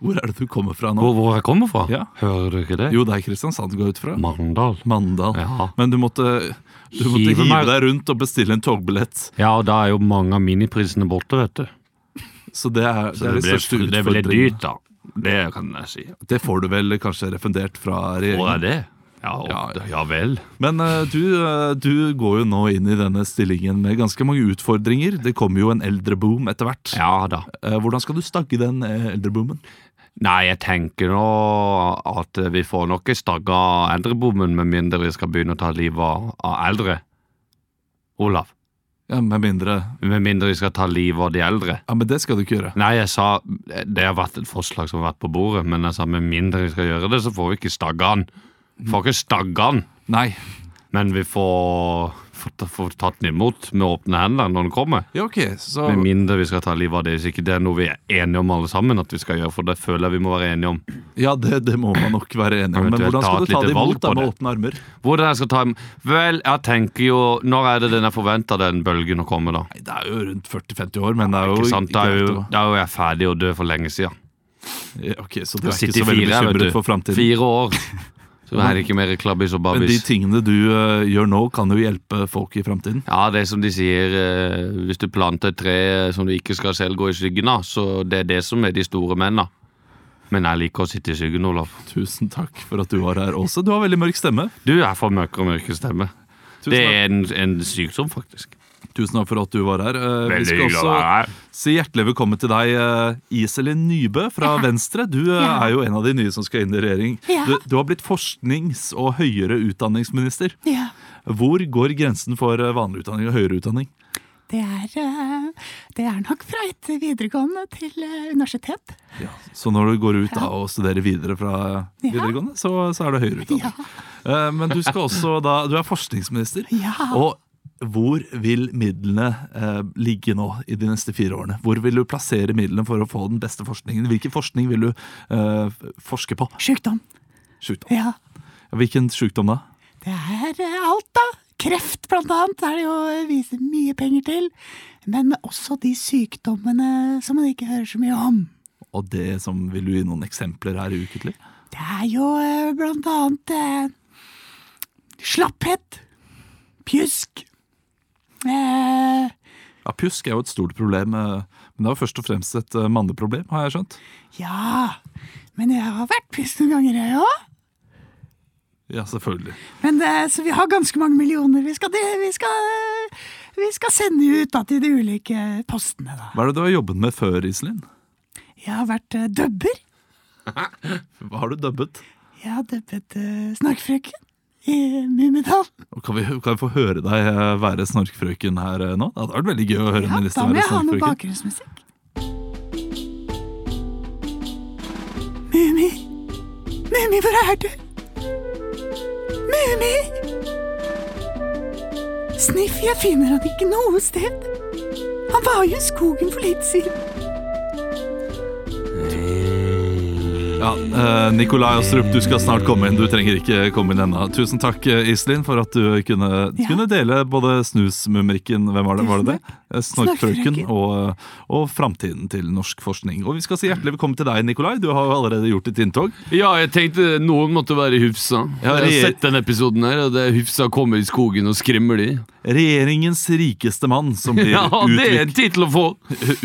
Speaker 1: Hvor er det du kommer fra nå?
Speaker 3: Hvor, hvor jeg kommer fra?
Speaker 1: Ja.
Speaker 3: Hører du ikke det?
Speaker 1: Jo, det er Kristiansand du går ut fra.
Speaker 3: Mandal.
Speaker 1: Mandal.
Speaker 3: Ja.
Speaker 1: Men du måtte, du måtte
Speaker 3: Hive
Speaker 1: hive
Speaker 3: meg-
Speaker 1: deg rundt og bestille en togbillett.
Speaker 3: Ja, og da er jo mange av miniprisene borte, vet du.
Speaker 1: Så det er, det
Speaker 3: Så
Speaker 1: er
Speaker 3: det,
Speaker 1: de største
Speaker 3: ble, det ble
Speaker 1: utfordringene.
Speaker 3: dyrt, da. Det kan jeg si.
Speaker 1: Det får du vel kanskje refundert fra
Speaker 3: Hvor
Speaker 1: regjeringen.
Speaker 3: er det? Ja, og,
Speaker 1: Ja,
Speaker 3: ja. vel.
Speaker 1: Men eh, du, eh, du går jo nå inn i denne stillingen med ganske mange utfordringer. Det kommer jo en eldreboom etter hvert.
Speaker 3: Ja da.
Speaker 1: Eh, Hvordan skal du stagge den eh, eldreboomen?
Speaker 3: Nei, jeg tenker nå at vi får nok ikke stagga eldrebommen med mindre vi skal begynne å ta livet av- av eldre. Olav.
Speaker 1: Ja, Med mindre
Speaker 3: Med mindre vi skal ta livet av de eldre.
Speaker 1: Ja, men det skal du ikke gjøre.
Speaker 3: Nei, jeg sa Det har vært et forslag som har vært på bordet, men jeg sa med mindre vi skal gjøre det, så får vi ikke stagga den. Vi Får ikke stagga den,
Speaker 1: Nei.
Speaker 3: men vi får, får, ta- får tatt den imot med åpne hender når den kommer.
Speaker 1: Ja, OK, så
Speaker 3: Med mindre vi skal ta livet av det, hvis ikke det er noe vi er enige om alle sammen at vi skal gjøre, for det føler jeg vi må være enige om.
Speaker 1: Ja, det, det må man nok være enig om. Men
Speaker 3: Eventuelt
Speaker 1: hvordan
Speaker 3: ta
Speaker 1: skal
Speaker 3: et
Speaker 1: du ta
Speaker 3: lite
Speaker 1: det
Speaker 3: valg
Speaker 1: imot da
Speaker 3: på
Speaker 1: med
Speaker 3: det.
Speaker 1: åpne armer?
Speaker 3: Hvordan jeg skal ta im- Vel, jeg tenker jo Når er det den er forventa, den bølgen å komme, da?
Speaker 1: Nei, det er jo rundt 40-50 år, men det er jo
Speaker 3: Ikke sant? Da er
Speaker 1: alt
Speaker 3: jo,
Speaker 1: å-
Speaker 3: da er jo jeg ferdig og død for lenge siden.
Speaker 1: Ja, Ok, Så du
Speaker 3: Jeg
Speaker 1: er ikke
Speaker 3: sitter i
Speaker 1: så veldig
Speaker 3: fire, vet du.
Speaker 1: bekymret for framtiden?
Speaker 3: Fire år. Så er det ikke mer klabbis og
Speaker 1: Men de
Speaker 3: babbis.
Speaker 1: tingene du eh, gjør nå, kan jo hjelpe folk i framtiden.
Speaker 3: Ja, det er som de sier, eh, hvis du planter et tre eh, som du ikke skal selv gå i skyggen av, så det er det som er de store mennene. Men jeg liker å sitte i skyggen, Olaf.
Speaker 1: Tusen takk for at du var her, Åse. Du har veldig mørk stemme.
Speaker 3: Du er for mørk og mørke stemme.
Speaker 1: Tusen
Speaker 3: Det
Speaker 1: takk,
Speaker 3: er en, en sykdom, faktisk.
Speaker 1: Tusen takk for at du var her. Eh, Vi
Speaker 3: Veldig
Speaker 1: skal
Speaker 3: hyggelig å
Speaker 1: også
Speaker 3: være her.
Speaker 1: si hjertelig velkommen til deg, eh, Iselin Nybø fra Venstre. Du eh, er jo en av de nye som skal inn i regjering. Du, du har blitt forsknings- og høyere utdanningsminister. Hvor går grensen for eh, vanlig utdanning og høyere utdanning?
Speaker 9: Det er, eh, det er nok fra etter videregående til eh, universitet.
Speaker 1: Ja. Så når du går ut da og studerer videre fra
Speaker 9: Ja.
Speaker 1: videregående, så, så er det høyere utdanning.
Speaker 9: Ja.
Speaker 1: Eh, Men du skal også da Du er forskningsminister.
Speaker 9: Ja.
Speaker 1: Og hvor vil midlene eh, ligge nå i de neste fire årene? Hvor vil du plassere midlene for å få den beste forskningen? Hvilken forskning vil du eh, forske på?
Speaker 9: Sjukdom.
Speaker 1: Sjukdom.
Speaker 9: Ja.
Speaker 1: Hvilken sjukdom da?
Speaker 9: Det er eh, alt, da. Kreft, blant annet, er det jo eh, viser mye penger til. Men også de sykdommene som man ikke hører så mye om.
Speaker 1: Og det som vil du gi noen eksempler her i uketlig?
Speaker 9: Det er jo eh, blant annet eh, slapphet, pjusk eh,
Speaker 1: Ja, Pjusk er jo et stort problem, eh, men det er jo først og fremst et eh, manneproblem, har jeg skjønt.
Speaker 9: Ja, men jeg har vært pjusk noen ganger, jeg òg.
Speaker 1: Ja, selvfølgelig.
Speaker 9: Men det, så vi har ganske mange millioner. Vi skal, det, vi skal, vi skal sende ut da, til de ulike postene. Da.
Speaker 1: Hva er det du har jobbet med før, Iselin?
Speaker 9: Jeg har vært eh, dubber.
Speaker 1: Hva har du dubbet?
Speaker 9: Jeg har dubbet eh, Snorkfrøken i Mummidal.
Speaker 1: Og Kan vi, kan vi få høre deg eh, være snorkfrøken her eh, nå? Det hadde vært veldig gøy å høre
Speaker 9: Ja,
Speaker 1: en
Speaker 9: da
Speaker 1: minister
Speaker 9: må
Speaker 1: være
Speaker 9: jeg ha noe
Speaker 1: snorkfrøken.
Speaker 9: bakgrunnsmusikk. Mummi, Mummi, hvor er du? Mummi! Sniff, jeg finner han ikke noe sted. Han var jo i skogen for litt siden.
Speaker 1: Ja, eh, Nikolai Astrup, du skal snart komme inn. Du trenger ikke komme inn ennå. Tusen takk, eh, Iselin, for at du kunne,
Speaker 9: Ja.
Speaker 1: kunne dele både Snusmumrikken Hvem var det? Var det
Speaker 9: Tusen
Speaker 1: det? Eh, Snorkfrøken
Speaker 9: Snorkfrøken.
Speaker 1: og, eh, og framtiden til norsk forskning. Og vi skal si hjertelig velkommen til deg, Nikolai. Du har jo allerede gjort ditt inntog.
Speaker 3: Ja, jeg tenkte noen måtte være i Hufsa. Jeg har
Speaker 1: Ja, det-
Speaker 3: sett den episoden her, og det er Hufsa kommer i skogen og skremmer de.
Speaker 1: Regjeringens rikeste mann, som blir
Speaker 3: Ja, det er en
Speaker 1: utvik
Speaker 3: tittel å få!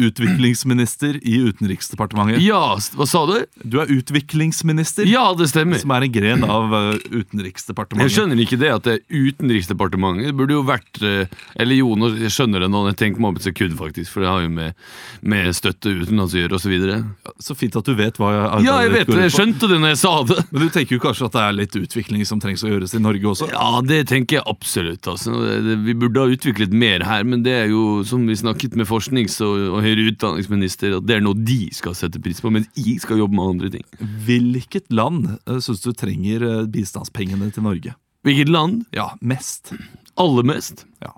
Speaker 1: utviklingsminister i Utenriksdepartementet.
Speaker 3: Ja, s- hva sa du?
Speaker 1: Du er utviklingsminister.
Speaker 3: Ja, det stemmer.
Speaker 1: Som er en gren av eh,
Speaker 3: Jeg
Speaker 1: Utenriksdepartementet.
Speaker 3: skjønner ikke det at det er Utenriksdepartementet. Det burde jo vært eh, Eller jo, nå jeg skjønner det nå, jeg tenker meg om et sekund, faktisk, for det har jo med, med støtte utenlands å gjøre, osv.
Speaker 1: Så fint at du vet hva arbeidet
Speaker 3: Ja, jeg
Speaker 1: ditt
Speaker 3: vet
Speaker 1: går ut
Speaker 3: det. Jeg
Speaker 1: på.
Speaker 3: skjønte det når jeg sa det.
Speaker 1: Men du tenker jo kanskje at det er litt utvikling som trengs å gjøres i Norge også?
Speaker 3: Ja, det tenker jeg absolutt. Altså. Det- Vi burde ha utviklet mer her, men det er jo som vi snakket med forsknings- og, og høyere utdanningsminister, at det er noe de skal sette pris på, mens jeg skal jobbe med andre ting.
Speaker 1: Hvilket land uh, syns du trenger eh, bistandspengene til Norge?
Speaker 3: Hvilket land?
Speaker 1: Ja, mest.
Speaker 3: Aller mest?
Speaker 1: Ja.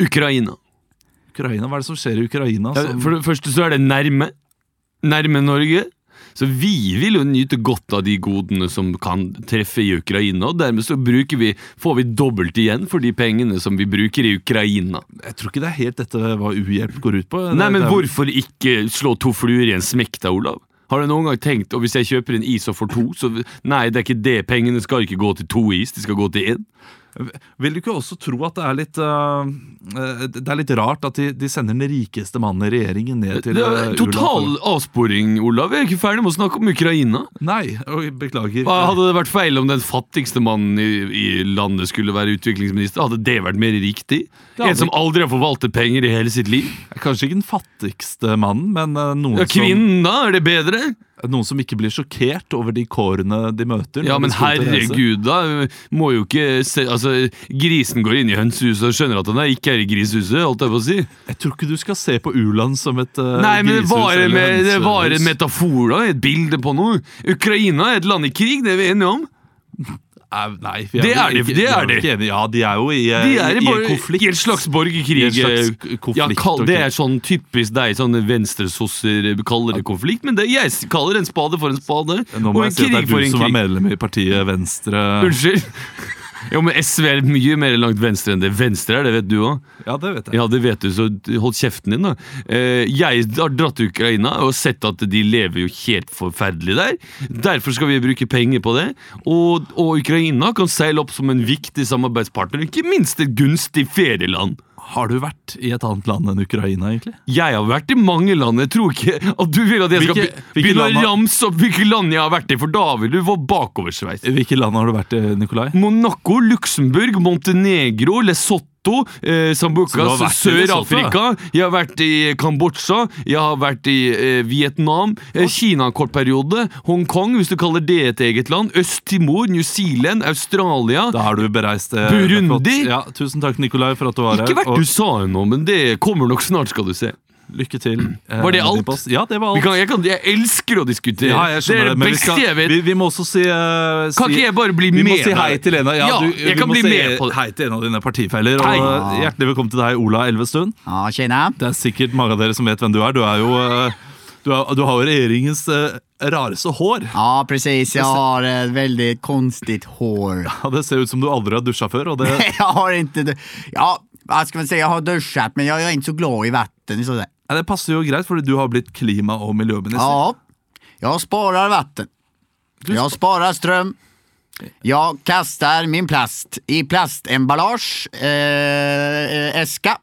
Speaker 3: Ukraina.
Speaker 1: Ukraina, Hva er det som skjer i Ukraina?
Speaker 3: Ja,
Speaker 1: som-
Speaker 3: for det første så er det nærme. Nærme Norge. Så vi vil jo nyte godt av de godene som kan treffe i Ukraina, og dermed så bruker vi, får vi dobbelt igjen for de pengene som vi bruker i Ukraina.
Speaker 1: Jeg tror ikke det er helt dette hva uhjelp går ut på.
Speaker 3: Nei, men
Speaker 1: det, det,
Speaker 3: hvorfor ikke slå to fluer i en smekk da, Olav? Har du noen gang tenkt, og hvis jeg kjøper en is og får to, så Nei, det er ikke det. Pengene skal ikke gå til to is, de skal gå til én.
Speaker 1: Vil du ikke også tro at det er litt eh, eh, Det er litt rart at de, de sender den rikeste mannen i regjeringen ned til
Speaker 3: Det
Speaker 1: eh,
Speaker 3: er
Speaker 1: u-land?
Speaker 3: Total avsporing, Olav. Jeg er ikke ferdig med å snakke om Ukraina.
Speaker 1: Nei, oi, beklager.
Speaker 3: Hva Hadde det vært feil om den fattigste mannen i, i landet skulle være utviklingsminister? Hadde det vært mer riktig?
Speaker 1: hadde
Speaker 3: En som aldri har forvaltet penger i hele sitt liv?
Speaker 1: Kanskje ikke den fattigste mannen, men eh, noen,
Speaker 3: Ja, Kvinnen, da? Er det bedre?
Speaker 1: som, noen som ikke blir sjokkert over de kårene de møter.
Speaker 3: Ja,
Speaker 1: når
Speaker 3: men
Speaker 1: de skal ut og reise.
Speaker 3: herregud, da. Må jo ikke se Altså, grisen går inn i hønsehuset og skjønner at han er ikke er i grisehuset, holdt jeg på å si.
Speaker 1: Jeg tror ikke du skal se på u-land som et uh,
Speaker 3: Nei, men det
Speaker 1: grisehus
Speaker 3: var,
Speaker 1: eller
Speaker 3: med, det
Speaker 1: hønsehus.
Speaker 3: var en metafor, da. Et bilde på noe. Ukraina er et land i krig, det er vi enige om.
Speaker 1: Nei, Nei, vi
Speaker 3: Det
Speaker 1: vel
Speaker 3: er det,
Speaker 1: ikke-
Speaker 3: det
Speaker 1: vi
Speaker 3: er
Speaker 1: vel
Speaker 3: det.
Speaker 1: ikke enige. Ja, de er jo i, uh,
Speaker 3: De er
Speaker 1: i,
Speaker 3: i,
Speaker 1: i
Speaker 3: bare,
Speaker 1: en konflikt.
Speaker 3: i en slags borgerkrig.
Speaker 1: I en slags k- konflikt,
Speaker 3: ja, kall,
Speaker 1: ok.
Speaker 3: Det er sånn typisk deg, sånne venstresosser eh, kaller det konflikt. Men det, jeg kaller en spade for en spade,
Speaker 1: Nå
Speaker 3: og
Speaker 1: må jeg
Speaker 3: en
Speaker 1: si at det
Speaker 3: krig
Speaker 1: er
Speaker 3: for
Speaker 1: du
Speaker 3: en
Speaker 1: som er
Speaker 3: krig.
Speaker 1: medlem i partiet Venstre.
Speaker 3: Unnskyld. Jo, men SV er mye mer langt venstre enn det Venstre er, det vet du òg.
Speaker 1: Ja, det vet jeg.
Speaker 3: Ja, det vet du, så hold kjeften din, da. Eh, Jeg har dratt til Ukraina og sett at de lever jo helt forferdelig der. Derfor skal vi bruke penger på det. Og, og Ukraina kan seile opp som en viktig samarbeidspartner, ikke minst et gunstig ferieland.
Speaker 1: Har du vært i et annet land enn Ukraina, egentlig?
Speaker 3: Jeg har vært i mange land. Jeg tror ikke at du vil at jeg skal
Speaker 1: Hvilke-
Speaker 3: be-
Speaker 1: hvilke
Speaker 3: begynne
Speaker 1: land har-
Speaker 3: å ramse opp hvilke land jeg har vært i, for da vil du få bakoversveis.
Speaker 1: Hvilke land har du vært i, eh, Nikolai?
Speaker 3: Monaco, Luxembourg, Montenegro, Lesotho Lesotho, eh,
Speaker 1: Så du
Speaker 3: Sambuca,
Speaker 1: har vært i
Speaker 3: Sør-Afrika. Jeg har vært i Kambodsja, jeg har vært i eh, Vietnam, eh, Kina en kort periode, Hongkong, hvis du kaller det et eget land, Øst-Timor, New Zealand, Australia.
Speaker 1: Da har du bereist eh,
Speaker 3: Burundi?
Speaker 1: det er flott. Ja, tusen takk, Nikolai, for at du var
Speaker 3: Ikke
Speaker 1: her.
Speaker 3: vært
Speaker 1: Og
Speaker 3: USA ennå, men det kommer nok snart, skal du se.
Speaker 1: lykke til. eh,
Speaker 3: Var
Speaker 1: med
Speaker 3: det
Speaker 1: din
Speaker 3: alt?
Speaker 1: post. Ja, det var
Speaker 3: Vi
Speaker 1: alt.
Speaker 3: kan, jeg, kan, jeg elsker å diskutere.
Speaker 1: Ja, jeg
Speaker 3: det
Speaker 1: skjønner
Speaker 3: er det
Speaker 1: men vi,
Speaker 3: beste
Speaker 1: skal,
Speaker 3: jeg vet.
Speaker 1: vi, vi må også si, eh, si
Speaker 3: Kan ikke jeg bare bli
Speaker 1: Vi
Speaker 3: med?
Speaker 1: må si
Speaker 3: der?
Speaker 1: hei til en av, ja,
Speaker 3: Ja,
Speaker 1: du,
Speaker 3: jeg
Speaker 1: vi
Speaker 3: kan
Speaker 1: må
Speaker 3: bli
Speaker 1: si
Speaker 3: med på det.
Speaker 1: hei til en av dine partifeller. Og
Speaker 3: Hei.
Speaker 1: eh, hjertelig velkommen til deg, Ola Elvestuen.
Speaker 2: Ja, kjenner jeg.
Speaker 1: Det er sikkert mange av dere som vet hvem du er. Du, er jo, eh, du, er, du har jo regjeringens eh, rareste hår.
Speaker 2: Ja, precis. Jeg har et veldig konstigt hår.
Speaker 1: Ja, det ser ut som du aldri har dusja før. Og det,
Speaker 2: Jeg har ikke du- Ja, hva skal man si? Jeg har dusjat, men jeg er ikke så glad i vatten. Så att säga.
Speaker 1: ja, det passer jo greit, fordi du har blitt klima- og miljøminister.
Speaker 2: Ja, jag sparar vatten. Jag sparar ström. Jag kastar min plast i plastemballage, eh, äska.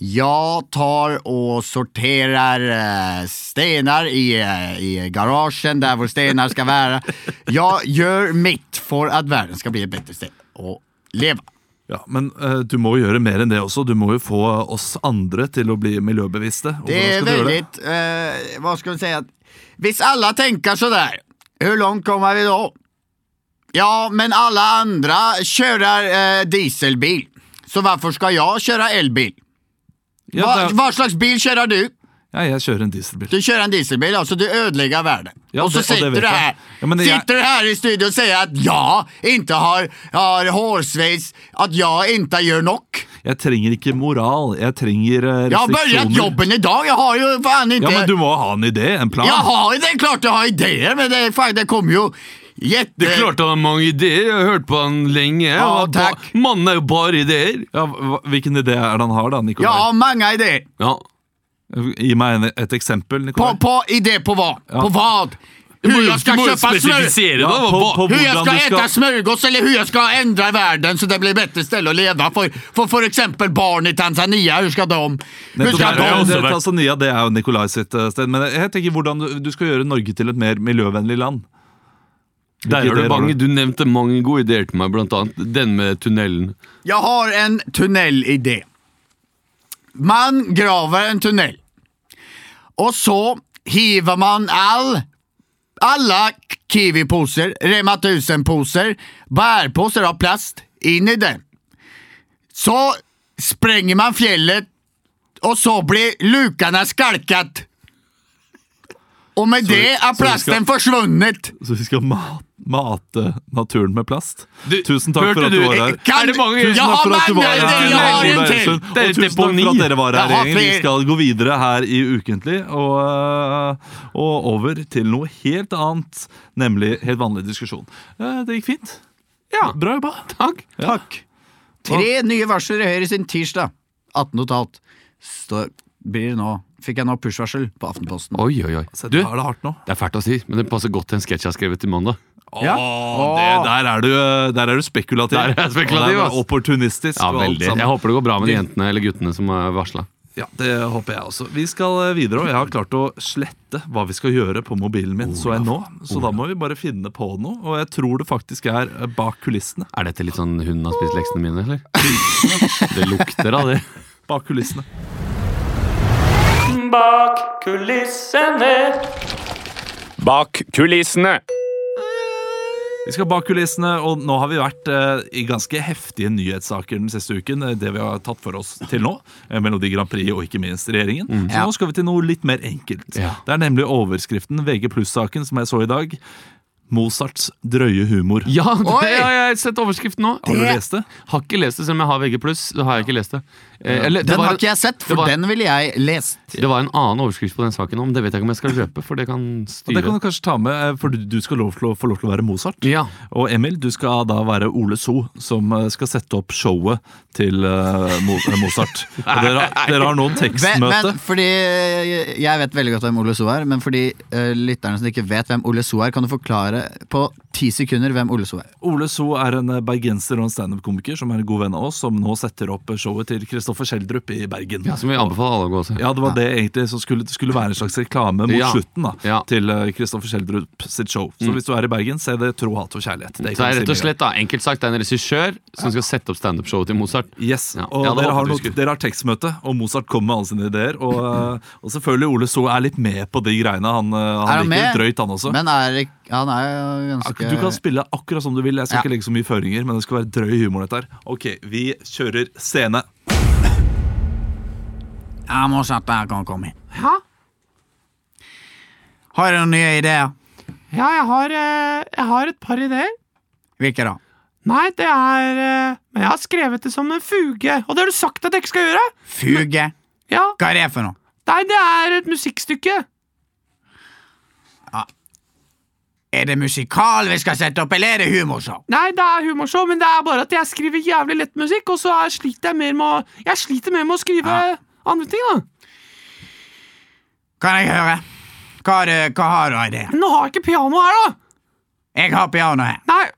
Speaker 2: Jag tar och sorterar eh, stenar i, eh, i garagen där vår stenar ska vara. Jag gör mitt för att världen ska bli ett bättre ställe att leva.
Speaker 1: Ja, men eh, du må jo gjøre mer enn det også. Du må jo få oss andre til å bli miljøbevisste. Og
Speaker 2: Det
Speaker 1: hvordan
Speaker 2: är
Speaker 1: skal du gjøre det?
Speaker 2: väldigt, eh, vad ska man säga, visst alla tänker sådär, hur långt kommer vi då? Ja, men alla andra kör eh, dieselbil, så varför ska jag köra elbil?
Speaker 1: Ja,
Speaker 2: Va,
Speaker 1: det er,
Speaker 2: Vad slags bil kör du?
Speaker 1: ja, jeg kjører en dieselbil.
Speaker 2: Du kör en dieselbil, alltså du ödelägger världen.
Speaker 1: Ja,
Speaker 2: och så
Speaker 1: det- och det
Speaker 2: sitter
Speaker 1: vet
Speaker 2: du
Speaker 1: jag.
Speaker 2: här,
Speaker 1: Ja, men det-
Speaker 2: sitter du här i studion och säger att jag inte har, har hårsvejs, att jag inte gör något.
Speaker 1: Jeg trenger ikke moral. Jeg trenger eh,
Speaker 2: Jag har börjat
Speaker 1: restriksjoner.
Speaker 2: jobben idag, jag har ju fan inte...
Speaker 1: Ja, men du må ha en idé, en plan.
Speaker 2: Jeg har, det er klart jeg har ideer, men det, er faen, det kommer jo gjette...
Speaker 3: Det er klart han har mange ideer. Jeg har hørt på han lenge.
Speaker 2: Ja,
Speaker 3: og ba-
Speaker 2: takk.
Speaker 3: Mannen er jo bare ideer.
Speaker 1: Ja, hva- hvilken idé er det han har, da,
Speaker 2: Jeg
Speaker 1: Nikolai?
Speaker 2: har mange ideer.
Speaker 3: Ja.
Speaker 1: Gi meg en, et eksempel,
Speaker 2: På,
Speaker 1: Nikolai.
Speaker 2: på idé på hva? På hva?
Speaker 3: Du
Speaker 2: Hur
Speaker 3: må jo,
Speaker 2: jeg skal
Speaker 3: du må jo
Speaker 2: kjøpe smør...
Speaker 3: spesifisere,
Speaker 1: Ja,
Speaker 3: da.
Speaker 1: på-
Speaker 3: Hva-
Speaker 1: på-
Speaker 2: Hur jeg
Speaker 1: hvordan
Speaker 2: skal
Speaker 1: du skal-
Speaker 2: äta smörgås eller hur jeg skal endre verden så det blir bättre ställe å leve for, for for eksempel barn i Tanzania, Hur skal de... Hur
Speaker 1: Nettopp,
Speaker 2: skal
Speaker 1: det,
Speaker 2: de...
Speaker 1: er- det, er Tanzania det er jo Nikolai sitt eh, sted. Men jeg tenker hvordan du, du skal gjøre Norge til et mer miljøvennlig land.
Speaker 3: Der
Speaker 1: Hvilke
Speaker 3: har du
Speaker 1: ideer har
Speaker 3: mange.
Speaker 1: du?
Speaker 3: Du nevnte mange gode ideer til meg, blant annet den med tunnelen.
Speaker 2: Jeg har en tunnelidé. Man graver en tunnel, og så hiver man all alle Kiwi-poser, Rema 1000-poser, bærposer av plast inn i den. Så sprenger man fjellet, og så blir lukene skalket. Og med det er
Speaker 1: så vi
Speaker 2: plasten
Speaker 1: skal-
Speaker 2: forsvunnet.
Speaker 1: Så vi skal ma- mate naturen med plast.
Speaker 3: Du-
Speaker 1: Tusen takk
Speaker 3: hørte
Speaker 1: for at du
Speaker 3: du-
Speaker 1: var her.
Speaker 2: Kan-
Speaker 3: det mange-
Speaker 2: Jeg
Speaker 1: Tusen takk
Speaker 2: har
Speaker 1: for at du
Speaker 2: mange
Speaker 1: var her.
Speaker 2: ideer! Jeg
Speaker 1: Ola
Speaker 2: har en til!
Speaker 1: Elvestuen.
Speaker 3: Det er
Speaker 1: Og
Speaker 3: et
Speaker 1: tusen takk
Speaker 3: deponi.
Speaker 1: for at dere var
Speaker 2: Jeg
Speaker 1: her.
Speaker 2: har
Speaker 1: Gjengen. Vi
Speaker 2: flere.
Speaker 1: skal gå videre her i Ukentlig og, øh, og over til noe helt annet, nemlig helt vanlig diskusjon. Eh, Det gikk fint.
Speaker 3: Ja.
Speaker 1: Bra jobba.
Speaker 3: Takk.
Speaker 1: Takk.
Speaker 2: Tre nye varsler i Høyre siden tirsdag. 18 totalt. Står, blir det nå, fikk jeg nå push-varsel på Aftenposten.
Speaker 3: Oi, oi, oi.
Speaker 1: Så
Speaker 3: Altså, Du,
Speaker 1: da er det hardt nå.
Speaker 3: det er fælt å si, men det passer godt til en sketsj jeg har skrevet til mandag.
Speaker 1: Ja. det, der, er du, eh, der er du spekulativ.
Speaker 3: Der er jeg spekulativ,
Speaker 1: Og der er
Speaker 3: ass.
Speaker 1: du opportunistisk.
Speaker 3: Ja,
Speaker 1: og alt
Speaker 3: veldig.
Speaker 1: sammen.
Speaker 3: Jeg håper det går bra med de jentene eller guttene som er varsla.
Speaker 1: Ja, Det håper jeg også. Vi skal eh, videre, og jeg har klart å slette hva vi skal gjøre på mobilen min.
Speaker 3: Oh,
Speaker 1: så jeg nå, så da må vi bare finne på noe, og jeg tror det faktisk er eh, bak kulissene.
Speaker 3: Er dette litt sånn hunden har spist leksene mine, eller? Det lukter av det.
Speaker 1: Bak kulissene.
Speaker 4: Bak kulissene.
Speaker 5: Bak kulissene.
Speaker 1: Vi skal bak kulissene, og nå har vi vært eh, i ganske heftige nyhetssaker den siste uken. eh, Det vi har tatt for oss til nå. eh, Melodi Grand Prix og ikke minst regjeringen. Så nå skal vi til noe litt mer enkelt.
Speaker 3: Mm. Ja.
Speaker 1: Det er nemlig overskriften VG pluss-saken som jeg så i dag. Mozarts drøye humor.
Speaker 3: Ja, det
Speaker 2: Oi!
Speaker 3: har jeg sett overskriften nå.
Speaker 1: Har du lest det?
Speaker 3: Har ikke lest det, selv om jeg har VG+. Så har jeg ikke lest det. Eh, eller, det
Speaker 2: Den
Speaker 3: var,
Speaker 2: har ikke jeg sett,
Speaker 3: det
Speaker 2: for
Speaker 3: var-
Speaker 2: den ville jeg lest.
Speaker 3: det var en annen overskrift på den saken om. Det vet jeg ikke om jeg skal røpe, for det kan
Speaker 1: Og
Speaker 3: styre.
Speaker 1: det kan du kanskje ta med, eh, for du- du skal lov til å, få lov til å være Mozart.
Speaker 3: Ja.
Speaker 1: Og Emil, du skal da være Ole So, som eh, skal sette opp showet til eh, Mo- eh, Mozart. Og dere, har- dere har nå
Speaker 2: Men, men
Speaker 1: tekstmøte.
Speaker 2: fordi eh, Jeg vet veldig godt hvem Ole So er, men for de eh, lytterne som ikke vet hvem Ole So er, kan du forklare på ti sekunder hvem Ole So er.
Speaker 1: Ole So er en eh, bergenser og en standup-komiker som er en god venn av oss, som nå setter opp eh, showet til Kristoffer Schjelderup i Bergen.
Speaker 10: Ja, som vi anbefaler alle å gå og se.
Speaker 1: Ja, det var det egentlig som skulle, det skulle være en slags reklame mot
Speaker 10: Ja.
Speaker 1: slutten da,
Speaker 10: Ja. Mm.
Speaker 1: til eh, Kristoffer Schjelderup sitt show. Så hvis du er i Bergen, se det Tro, hat og kjærlighet. Det
Speaker 10: Så
Speaker 1: kan
Speaker 10: er
Speaker 1: jeg
Speaker 10: det rett og
Speaker 1: si med en gang.
Speaker 10: slett da, enkelt sagt, det er en regissør som skal sette opp standup-showet til Mozart.
Speaker 1: Yes,
Speaker 10: Ja.
Speaker 1: og
Speaker 10: Ja, det
Speaker 1: dere,
Speaker 10: håper
Speaker 1: har
Speaker 10: du
Speaker 1: noe,
Speaker 10: husker.
Speaker 1: dere har tekstmøte, og Mozart kommer med alle sine ideer. Og, eh, og selvfølgelig Ole So er litt med på de greiene. Han, eh, han
Speaker 2: han
Speaker 1: liker
Speaker 2: med?
Speaker 1: det drøyt, han også.
Speaker 2: Men er, ikke- han er jo ganske
Speaker 1: Du kan spille akkurat som du vil. Jeg skal
Speaker 2: Ja.
Speaker 1: ikke legge så mye føringer, men det skal være drøy humor. dette her Ok, vi kjører scene.
Speaker 2: Jeg må sette jeg kan komme inn. Ja? Har du noen nye ideer?
Speaker 3: Ja, jeg har, eh, jeg har et par ideer.
Speaker 2: Hvilke da?
Speaker 3: Nei, det er eh, Men jeg har skrevet det som en fuge. Og det har du sagt at jeg ikke skal gjøre!
Speaker 2: Fuge?
Speaker 3: Ja,
Speaker 2: Hva er det for noe?
Speaker 3: Nei, det er et musikkstykke.
Speaker 2: Er det musikal vi skal sette opp, eller er det humorshow?
Speaker 3: Nei, det er humorshow, men det er bare at jeg skriver jævlig lett musikk, og så er- sliter jeg mer med å Jeg sliter mer med å skrive
Speaker 2: Ja.
Speaker 3: andre ting, da.
Speaker 2: Kan jeg høre? Hva, har du- hva har du av ideer?
Speaker 3: Men nå har jeg ikke piano her, da!
Speaker 2: Jeg har piano her,
Speaker 3: Nei,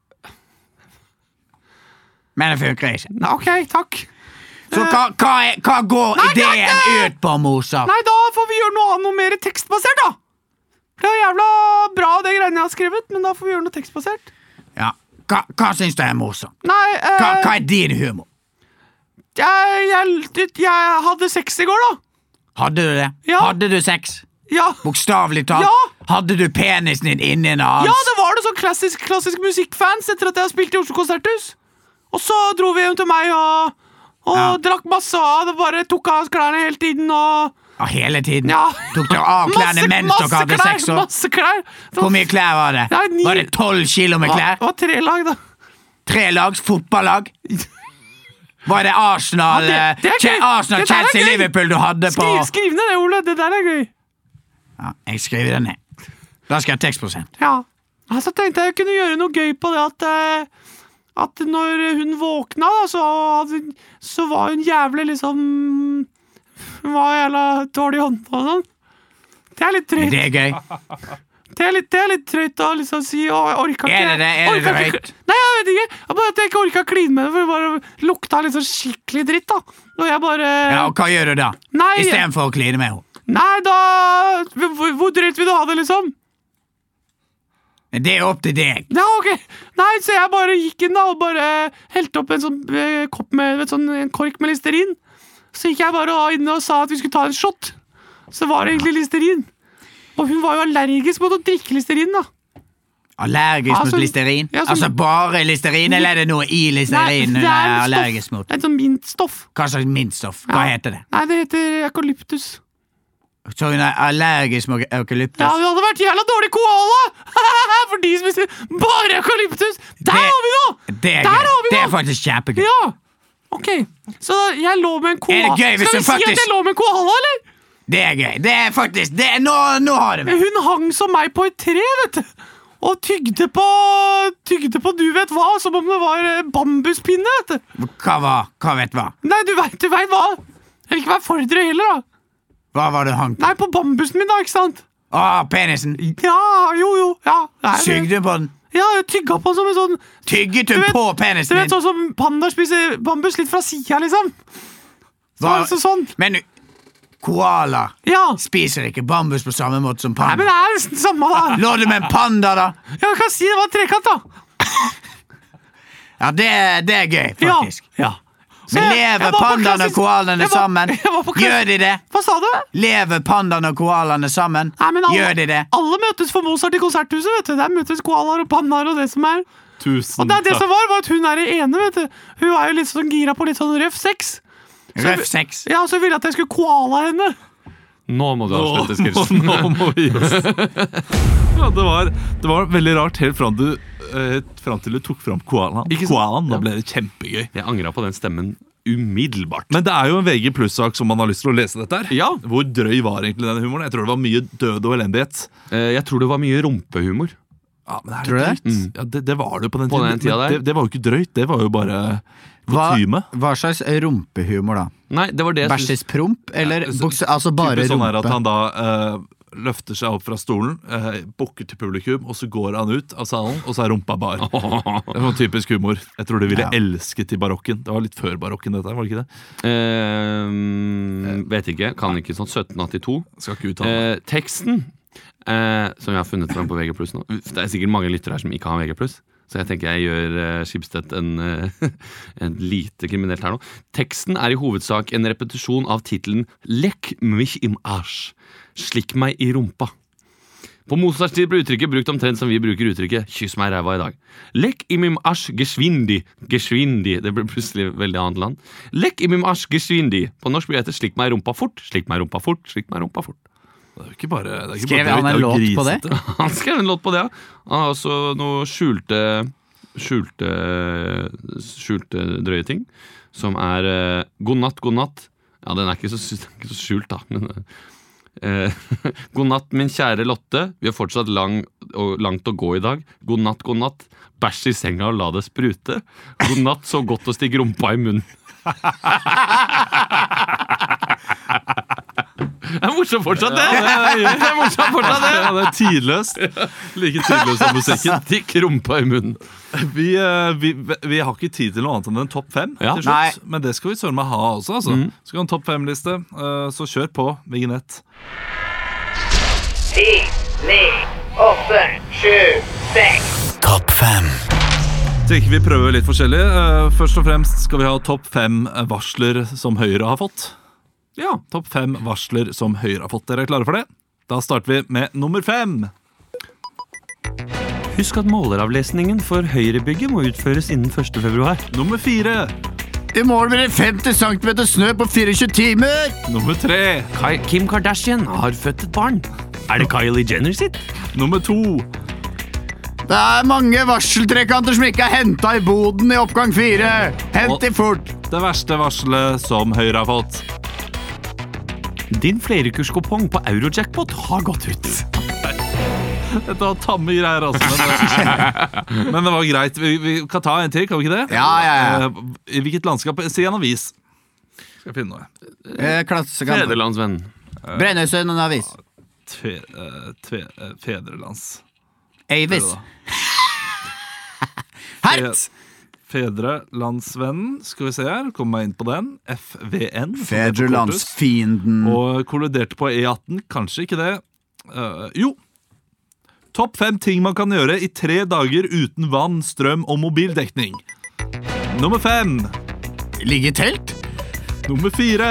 Speaker 2: men det funker ikke.
Speaker 3: nei ok, takk.
Speaker 2: Så hva, hva, er, hva går
Speaker 3: Nei,
Speaker 2: ideen
Speaker 3: Bjarte!
Speaker 2: ut på, Mozart?
Speaker 3: Nei, da får vi gjøre noe annet, noe mer tekstbasert, da. For Det er jo jævla bra, det greiene jeg har skrevet, men da får vi gjøre noe tekstbasert.
Speaker 2: Ja. Hva, hva syns du er morsomt?
Speaker 3: Nei, eh,
Speaker 2: Hva, hva er din humor?
Speaker 3: Jeg, jeg, jeg hadde sex i går, da.
Speaker 2: Hadde du det?
Speaker 3: Ja.
Speaker 2: Hadde du sex?
Speaker 3: Ja,
Speaker 2: Bokstavelig talt?
Speaker 3: Ja.
Speaker 2: Hadde du penisen din inni en annen?
Speaker 3: ja det var det sånn klassisk, klassisk musikkfans etter at jeg har spilt i Oslo Konserthus. Og så dro vi hjem til meg og, og
Speaker 2: Ja.
Speaker 3: drakk masse av. Det bare tok av oss klærne hele tiden og
Speaker 2: Ja, hele tiden?
Speaker 3: Ja.
Speaker 2: Tok dere av klærne mens dere hadde
Speaker 3: klær,
Speaker 2: sex? Og...
Speaker 3: Masse klær. Det var-
Speaker 2: Hvor mye klær var det?
Speaker 3: Ja, ni-
Speaker 2: Var det tolv kilo med
Speaker 3: Ja,
Speaker 2: klær?
Speaker 3: Det var tre lag, da.
Speaker 2: Tre lags fotballag? Var det Arsenal,
Speaker 3: Ja, det- det er
Speaker 2: eh, Che-
Speaker 3: gøy.
Speaker 2: Arsenal
Speaker 3: Det der er
Speaker 2: Chelsea,
Speaker 3: gøy.
Speaker 2: Liverpool du hadde på
Speaker 3: Skriv, skriv ned det, Ole. Det der er gøy.
Speaker 2: ja, Jeg skriver det ned. Da skal jeg ha tekstprosent.
Speaker 3: Ja. Ja, Så tenkte jeg jeg kunne gjøre noe gøy på det at eh, At når hun våkna, da, så, hadde, hun- så var hun jævlig liksom Hun var jævla dårlig i hånda og sånn. Det er litt drøyt.
Speaker 2: Det er gøy.
Speaker 3: Det er litt, det er litt drøyt å liksom si å, jeg orka ikke
Speaker 2: Er det det? Er det
Speaker 3: orka ikke-
Speaker 2: drøyt?
Speaker 3: Nei, jeg vet ikke. Jeg bare at jeg ikke orka å kline med det, for det bare lukta liksom skikkelig dritt, da. Når jeg bare
Speaker 2: Ja, og hva gjør du da?
Speaker 3: Nei, jeg-
Speaker 2: Istedenfor å kline med henne.
Speaker 3: nei, da hvor, hvor drøyt vil du ha det, liksom?
Speaker 2: Men Det er opp til deg.
Speaker 3: Ja, ok. Nei, så jeg bare gikk inn da og bare eh, helte opp en sånn eh, kopp med vet, sånn, en kork med listerin. Så gikk jeg bare inn og sa at vi skulle ta en shot. Så var det egentlig listerin. Og hun var jo allergisk mot å drikke listerin, da.
Speaker 2: Allergisk
Speaker 3: Altså,
Speaker 2: mot listerin?
Speaker 3: ja, som-
Speaker 2: altså bare listerin, eller er det noe i listerin hun
Speaker 3: det
Speaker 2: er
Speaker 3: et
Speaker 2: allergisk
Speaker 3: stoff.
Speaker 2: mot?
Speaker 3: Det er Et sånn mintstoff.
Speaker 2: Hva slags minstoff? Hva
Speaker 3: Ja.
Speaker 2: heter det?
Speaker 3: Nei, det heter eukalyptus.
Speaker 2: Så hun er allergisk mot eukalyptus?
Speaker 3: Ja, det hadde vært jævla dårlig koala! For de spiser bare eukalyptus.
Speaker 2: Det-
Speaker 3: Der har vi noe!
Speaker 2: det, er
Speaker 3: Der
Speaker 2: gøy.
Speaker 3: har vi
Speaker 2: det
Speaker 3: noe!
Speaker 2: er faktisk kjempegøy.
Speaker 3: Ja! Ok, så jeg lå med en
Speaker 2: Er
Speaker 3: koala.
Speaker 2: det gøy hvis
Speaker 3: Skal vi
Speaker 2: hun
Speaker 3: si at
Speaker 2: faktisk-
Speaker 3: jeg lå med en koala, eller?
Speaker 2: Det er gøy. Det er faktisk det er, nå, nå har du meg.
Speaker 3: Hun hang som meg på et tre, vet du. Og tygde på Tygde på du vet hva, som om det var eh, bambuspinne. vet du.
Speaker 2: Hva var Hva vet hva?
Speaker 3: Nei, du veit du vet hva. Jeg vil ikke være for drøy heller, da.
Speaker 2: Hva var det du hang på?
Speaker 3: Nei, på bambusen min, da, ikke sant?
Speaker 2: Å, penisen.
Speaker 3: Ja, jo, jo. ja. Nei, det-
Speaker 2: Sugde du på den?
Speaker 3: Ja, jeg tygga på den som en sånn
Speaker 2: Tygget
Speaker 3: Du
Speaker 2: hun
Speaker 3: vet-
Speaker 2: på
Speaker 3: Du
Speaker 2: penisen
Speaker 3: vet
Speaker 2: din?
Speaker 3: sånn som pandaer spiser bambus litt fra sida, liksom.
Speaker 2: Hva-
Speaker 3: Så, så, sånn.
Speaker 2: Men koala
Speaker 3: Ja.
Speaker 2: spiser ikke bambus på samme måte som
Speaker 3: Nei,
Speaker 2: panda.
Speaker 3: men det er nesten samme, da.
Speaker 2: Lå du med en panda, da?
Speaker 3: Jeg kan si det var en trekant, da.
Speaker 2: Ja, det, det er gøy,
Speaker 3: Ja.
Speaker 2: faktisk.
Speaker 3: ja. Så
Speaker 2: Men
Speaker 3: jeg- jeg
Speaker 2: lever
Speaker 3: var på
Speaker 2: pandaen og
Speaker 3: klassisk-
Speaker 2: koalaene
Speaker 3: jeg var-
Speaker 2: sammen?
Speaker 3: jeg var på klass-
Speaker 2: Gjør de det?
Speaker 3: Hva sa du?
Speaker 2: Lever pandaen og koalaene sammen?
Speaker 3: Nei, men alle,
Speaker 2: Gjør de det?
Speaker 3: alle møtes for Mozart i konserthuset. vet du Der møtes koalaer og pandaer og det som er.
Speaker 1: Tusen
Speaker 3: Og det, er det som var, var at hun er ene, vet du. Hun er jo litt sånn gira på litt sånn røff sex.
Speaker 2: Røff sex.
Speaker 3: Ja, Så hun ville at jeg skulle koala henne.
Speaker 10: Nå må du avslutte
Speaker 1: Nå,
Speaker 10: sketsjen.
Speaker 1: nå må vi gi oss. Ja, det, var, det var veldig rart helt fram, du, eh, fram til du tok fram koalaen.
Speaker 10: Ikke sant?
Speaker 1: koalaen da
Speaker 10: Ja.
Speaker 1: ble det kjempegøy.
Speaker 10: Jeg angra på den stemmen umiddelbart.
Speaker 1: Men det er jo en VG pluss-sak som man har lyst til å lese dette her.
Speaker 10: Ja.
Speaker 1: Hvor drøy var egentlig den humoren? Jeg tror det var mye død og elendighet.
Speaker 10: Eh, Jeg tror det var mye rumpehumor.
Speaker 1: Ja, men
Speaker 2: Tror
Speaker 1: er
Speaker 2: du det?
Speaker 1: drøyt? Ja, det, det var det jo på den
Speaker 10: På
Speaker 1: tiden.
Speaker 10: den tida
Speaker 1: Men
Speaker 10: der.
Speaker 1: det, det var jo ikke drøyt, det var jo bare
Speaker 2: Hva,
Speaker 1: kutyme.
Speaker 2: hva slags rumpehumor, da?
Speaker 10: Nei, det var det jeg synes-
Speaker 2: Versus promp, eller
Speaker 1: Ja, så-
Speaker 2: bukse, altså bare
Speaker 1: Typisk sånn her at
Speaker 2: rumpe?
Speaker 1: han da eh, løfter seg opp fra stolen, eh, bukker til publikum, og så går han ut av salen, og så er rumpa bar. Det er sånn typisk humor. Jeg tror du ville elsket i barokken. Det var litt før barokken, dette, var det ikke det?
Speaker 3: Eh, vet ikke. Kan ikke sånn 1782.
Speaker 1: Skal ikke uttale meg.
Speaker 3: Eh, teksten eh, som jeg har funnet fram på VG+, nå Det er sikkert mange lyttere her som ikke har VG+, så jeg tenker jeg gjør eh, Schibsted en, eh, en lite kriminelt her nå. Teksten er i hovedsak en repetisjon av tittelen 'Lek mich im Arsch', 'Slikk meg i rumpa'. På Mozarts tid ble uttrykket brukt omtrent som vi bruker uttrykket 'kyss meg i ræva' i dag. Lek i mim asch geschwindi, geschwindi Det ble plutselig veldig annet land. Lek i mim asch geschwindi. På norsk blir det 'slikk meg i rumpa fort', 'slikk meg i rumpa fort', 'slikk meg i rumpa fort'.
Speaker 1: Det er jo ikke bare, det er ikke
Speaker 2: Skrev
Speaker 1: bare,
Speaker 2: han
Speaker 1: det er
Speaker 2: en
Speaker 1: jo
Speaker 2: låt på det?
Speaker 1: grisete.
Speaker 3: Han skrev en låt på det, ja. Han har også noe skjulte Skjulte Skjulte drøye ting. Som er eh, God natt, god natt. Ja, den er ikke så, den er ikke så skjult, da. Men, eh, god natt, min kjære Lotte. Vi har fortsatt lang, og, langt å gå i dag. God natt, god natt. Bæsj i senga og la det sprute. God natt, så godt å stikke rumpa i munnen. Det er morsomt fortsatt, det! Det er morsomt fortsatt, det!
Speaker 1: Ja, det er tidløst. Like tidløst som musikken.
Speaker 3: Stikk rumpa i munnen.
Speaker 1: Vi, eh, vi, vi har ikke tid til noe annet enn en topp fem.
Speaker 3: Ja.
Speaker 1: til
Speaker 2: Nei.
Speaker 1: slutt. Men det skal vi søren meg ha også. Altså. Skal vi ha en topp fem-liste, eh, så kjør på vignett.
Speaker 2: Topp fem.
Speaker 1: Tenker vi prøver litt forskjellig. Eh, Først og fremst skal vi ha topp fem varsler som Høyre har fått. Ja, Topp fem varsler som Høyre har fått. Dere er klare for det? Da starter vi med nummer fem.
Speaker 8: Husk at måleravlesningen for høyrebygget må utføres innen 1. februar.
Speaker 1: Nummer fire.
Speaker 2: I morgen blir det 50 cm snø på 24 timer!
Speaker 1: Nummer tre.
Speaker 8: Ki- Kim Kardashian har født et barn. Er det Kylie Jenner sitt?
Speaker 1: Nummer to.
Speaker 2: Det er mange varseltrekanter som ikke er henta i boden i oppgang fire. Hent de fort!
Speaker 1: Det verste varselet som Høyre har fått.
Speaker 8: Din flerkurskupong på Eurojackpot har gått ut.
Speaker 1: Dette var tamme greier, altså. Men det, men det var greit. Vi, vi kan ta en til, kan vi ikke det?
Speaker 2: Ja, ja, ja.
Speaker 1: Eh, I hvilket landskap? Si en avis. Skal jeg finne noe.
Speaker 2: Eh, Klassekamp.
Speaker 3: Fedrelandsvenn.
Speaker 2: Brønnøysund en avis.
Speaker 1: Tve, eh, tve, eh, fedrelands.
Speaker 2: Avis.
Speaker 1: Prøv
Speaker 2: Hertz!
Speaker 1: Fedrelandsvennen, skal vi se her. Kom meg inn på den. FVN. som det heter på korthus.
Speaker 2: Fedrelandsfienden.
Speaker 1: Og kolliderte på E18. Kanskje ikke det. Eh, jo. Topp fem ting man kan gjøre i tre dager uten vann, strøm og mobildekning. Nummer fem.
Speaker 2: Ligge i telt?
Speaker 1: Nummer fire.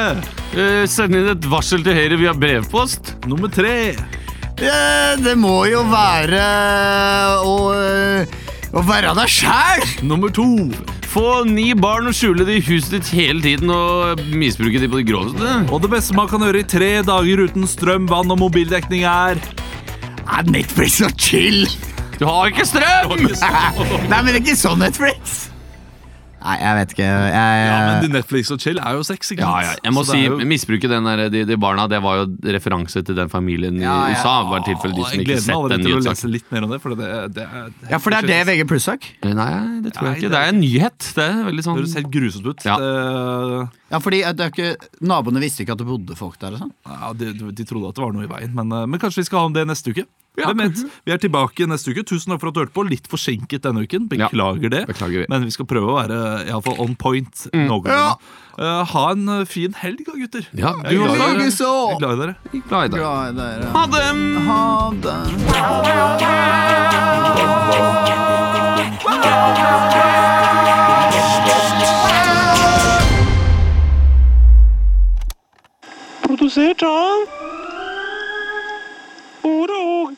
Speaker 3: Eh, send inn et varsel til Høyre via brevpost.
Speaker 1: Nummer tre.
Speaker 2: Eh, Det må jo være å, eh, å være deg sjæl!
Speaker 1: Nummer to.
Speaker 3: Få ni barn og skjule det i huset ditt hele tiden og misbruke de på det groveste.
Speaker 1: Og det beste man kan gjøre i tre dager uten strøm, vann og mobildekning, er
Speaker 2: Netflix og chill!
Speaker 3: Du har ikke strøm!
Speaker 2: Nei, men ikke sånn Netflix! Nei, jeg vet ikke. Jeg,
Speaker 1: Ja, men de Netflix og chill er jo sex, ikke
Speaker 3: Eh, Ja,
Speaker 1: sant?
Speaker 3: ja, jeg må
Speaker 1: Så
Speaker 3: si,
Speaker 1: det er jo-
Speaker 3: misbruke den der, de, de barna, det var jo referanse til den familien i
Speaker 2: Ja, ja.
Speaker 3: USA. Var tilfelle de
Speaker 1: Å, jeg
Speaker 3: som ikke
Speaker 1: gleder meg
Speaker 3: sett
Speaker 1: allerede
Speaker 3: den
Speaker 1: til å
Speaker 3: nyhetssaken.
Speaker 1: lese litt mer om det. For det, det er, det er
Speaker 2: Ja, for det er det VG pluss-sak.
Speaker 3: Nei, det tror
Speaker 1: Nei,
Speaker 3: jeg ikke.
Speaker 1: det-
Speaker 3: Det er en nyhet. Det er veldig
Speaker 1: Det
Speaker 3: sånn
Speaker 1: høres helt grusomt ut. Eh,
Speaker 3: Ja.
Speaker 1: Det,
Speaker 2: Ja, fordi at det er ikke, Naboene visste ikke at det bodde folk der. og sånn
Speaker 1: ja, de, de trodde at det var noe i veien, men, eh, men kanskje vi skal ha om det neste uke. Hvem vet? Vi er tilbake neste uke. Tusen takk for at du hørte på. Litt forsinket denne uken. Beklager det.
Speaker 3: Beklager vi. Mm.
Speaker 1: Men vi skal prøve å være eh, i alle fall on point. noenlunde. Eh, ha en eh, fin helg, da, gutter.
Speaker 3: Ja,
Speaker 1: Jeg
Speaker 3: du
Speaker 1: er glad i
Speaker 3: også.
Speaker 1: dere.
Speaker 2: Ikke så
Speaker 1: Jeg er glad i dere.
Speaker 3: Glad i deg.
Speaker 2: glad i dere.
Speaker 3: Ha det!
Speaker 2: Ha det.
Speaker 4: Produsert av Ordet og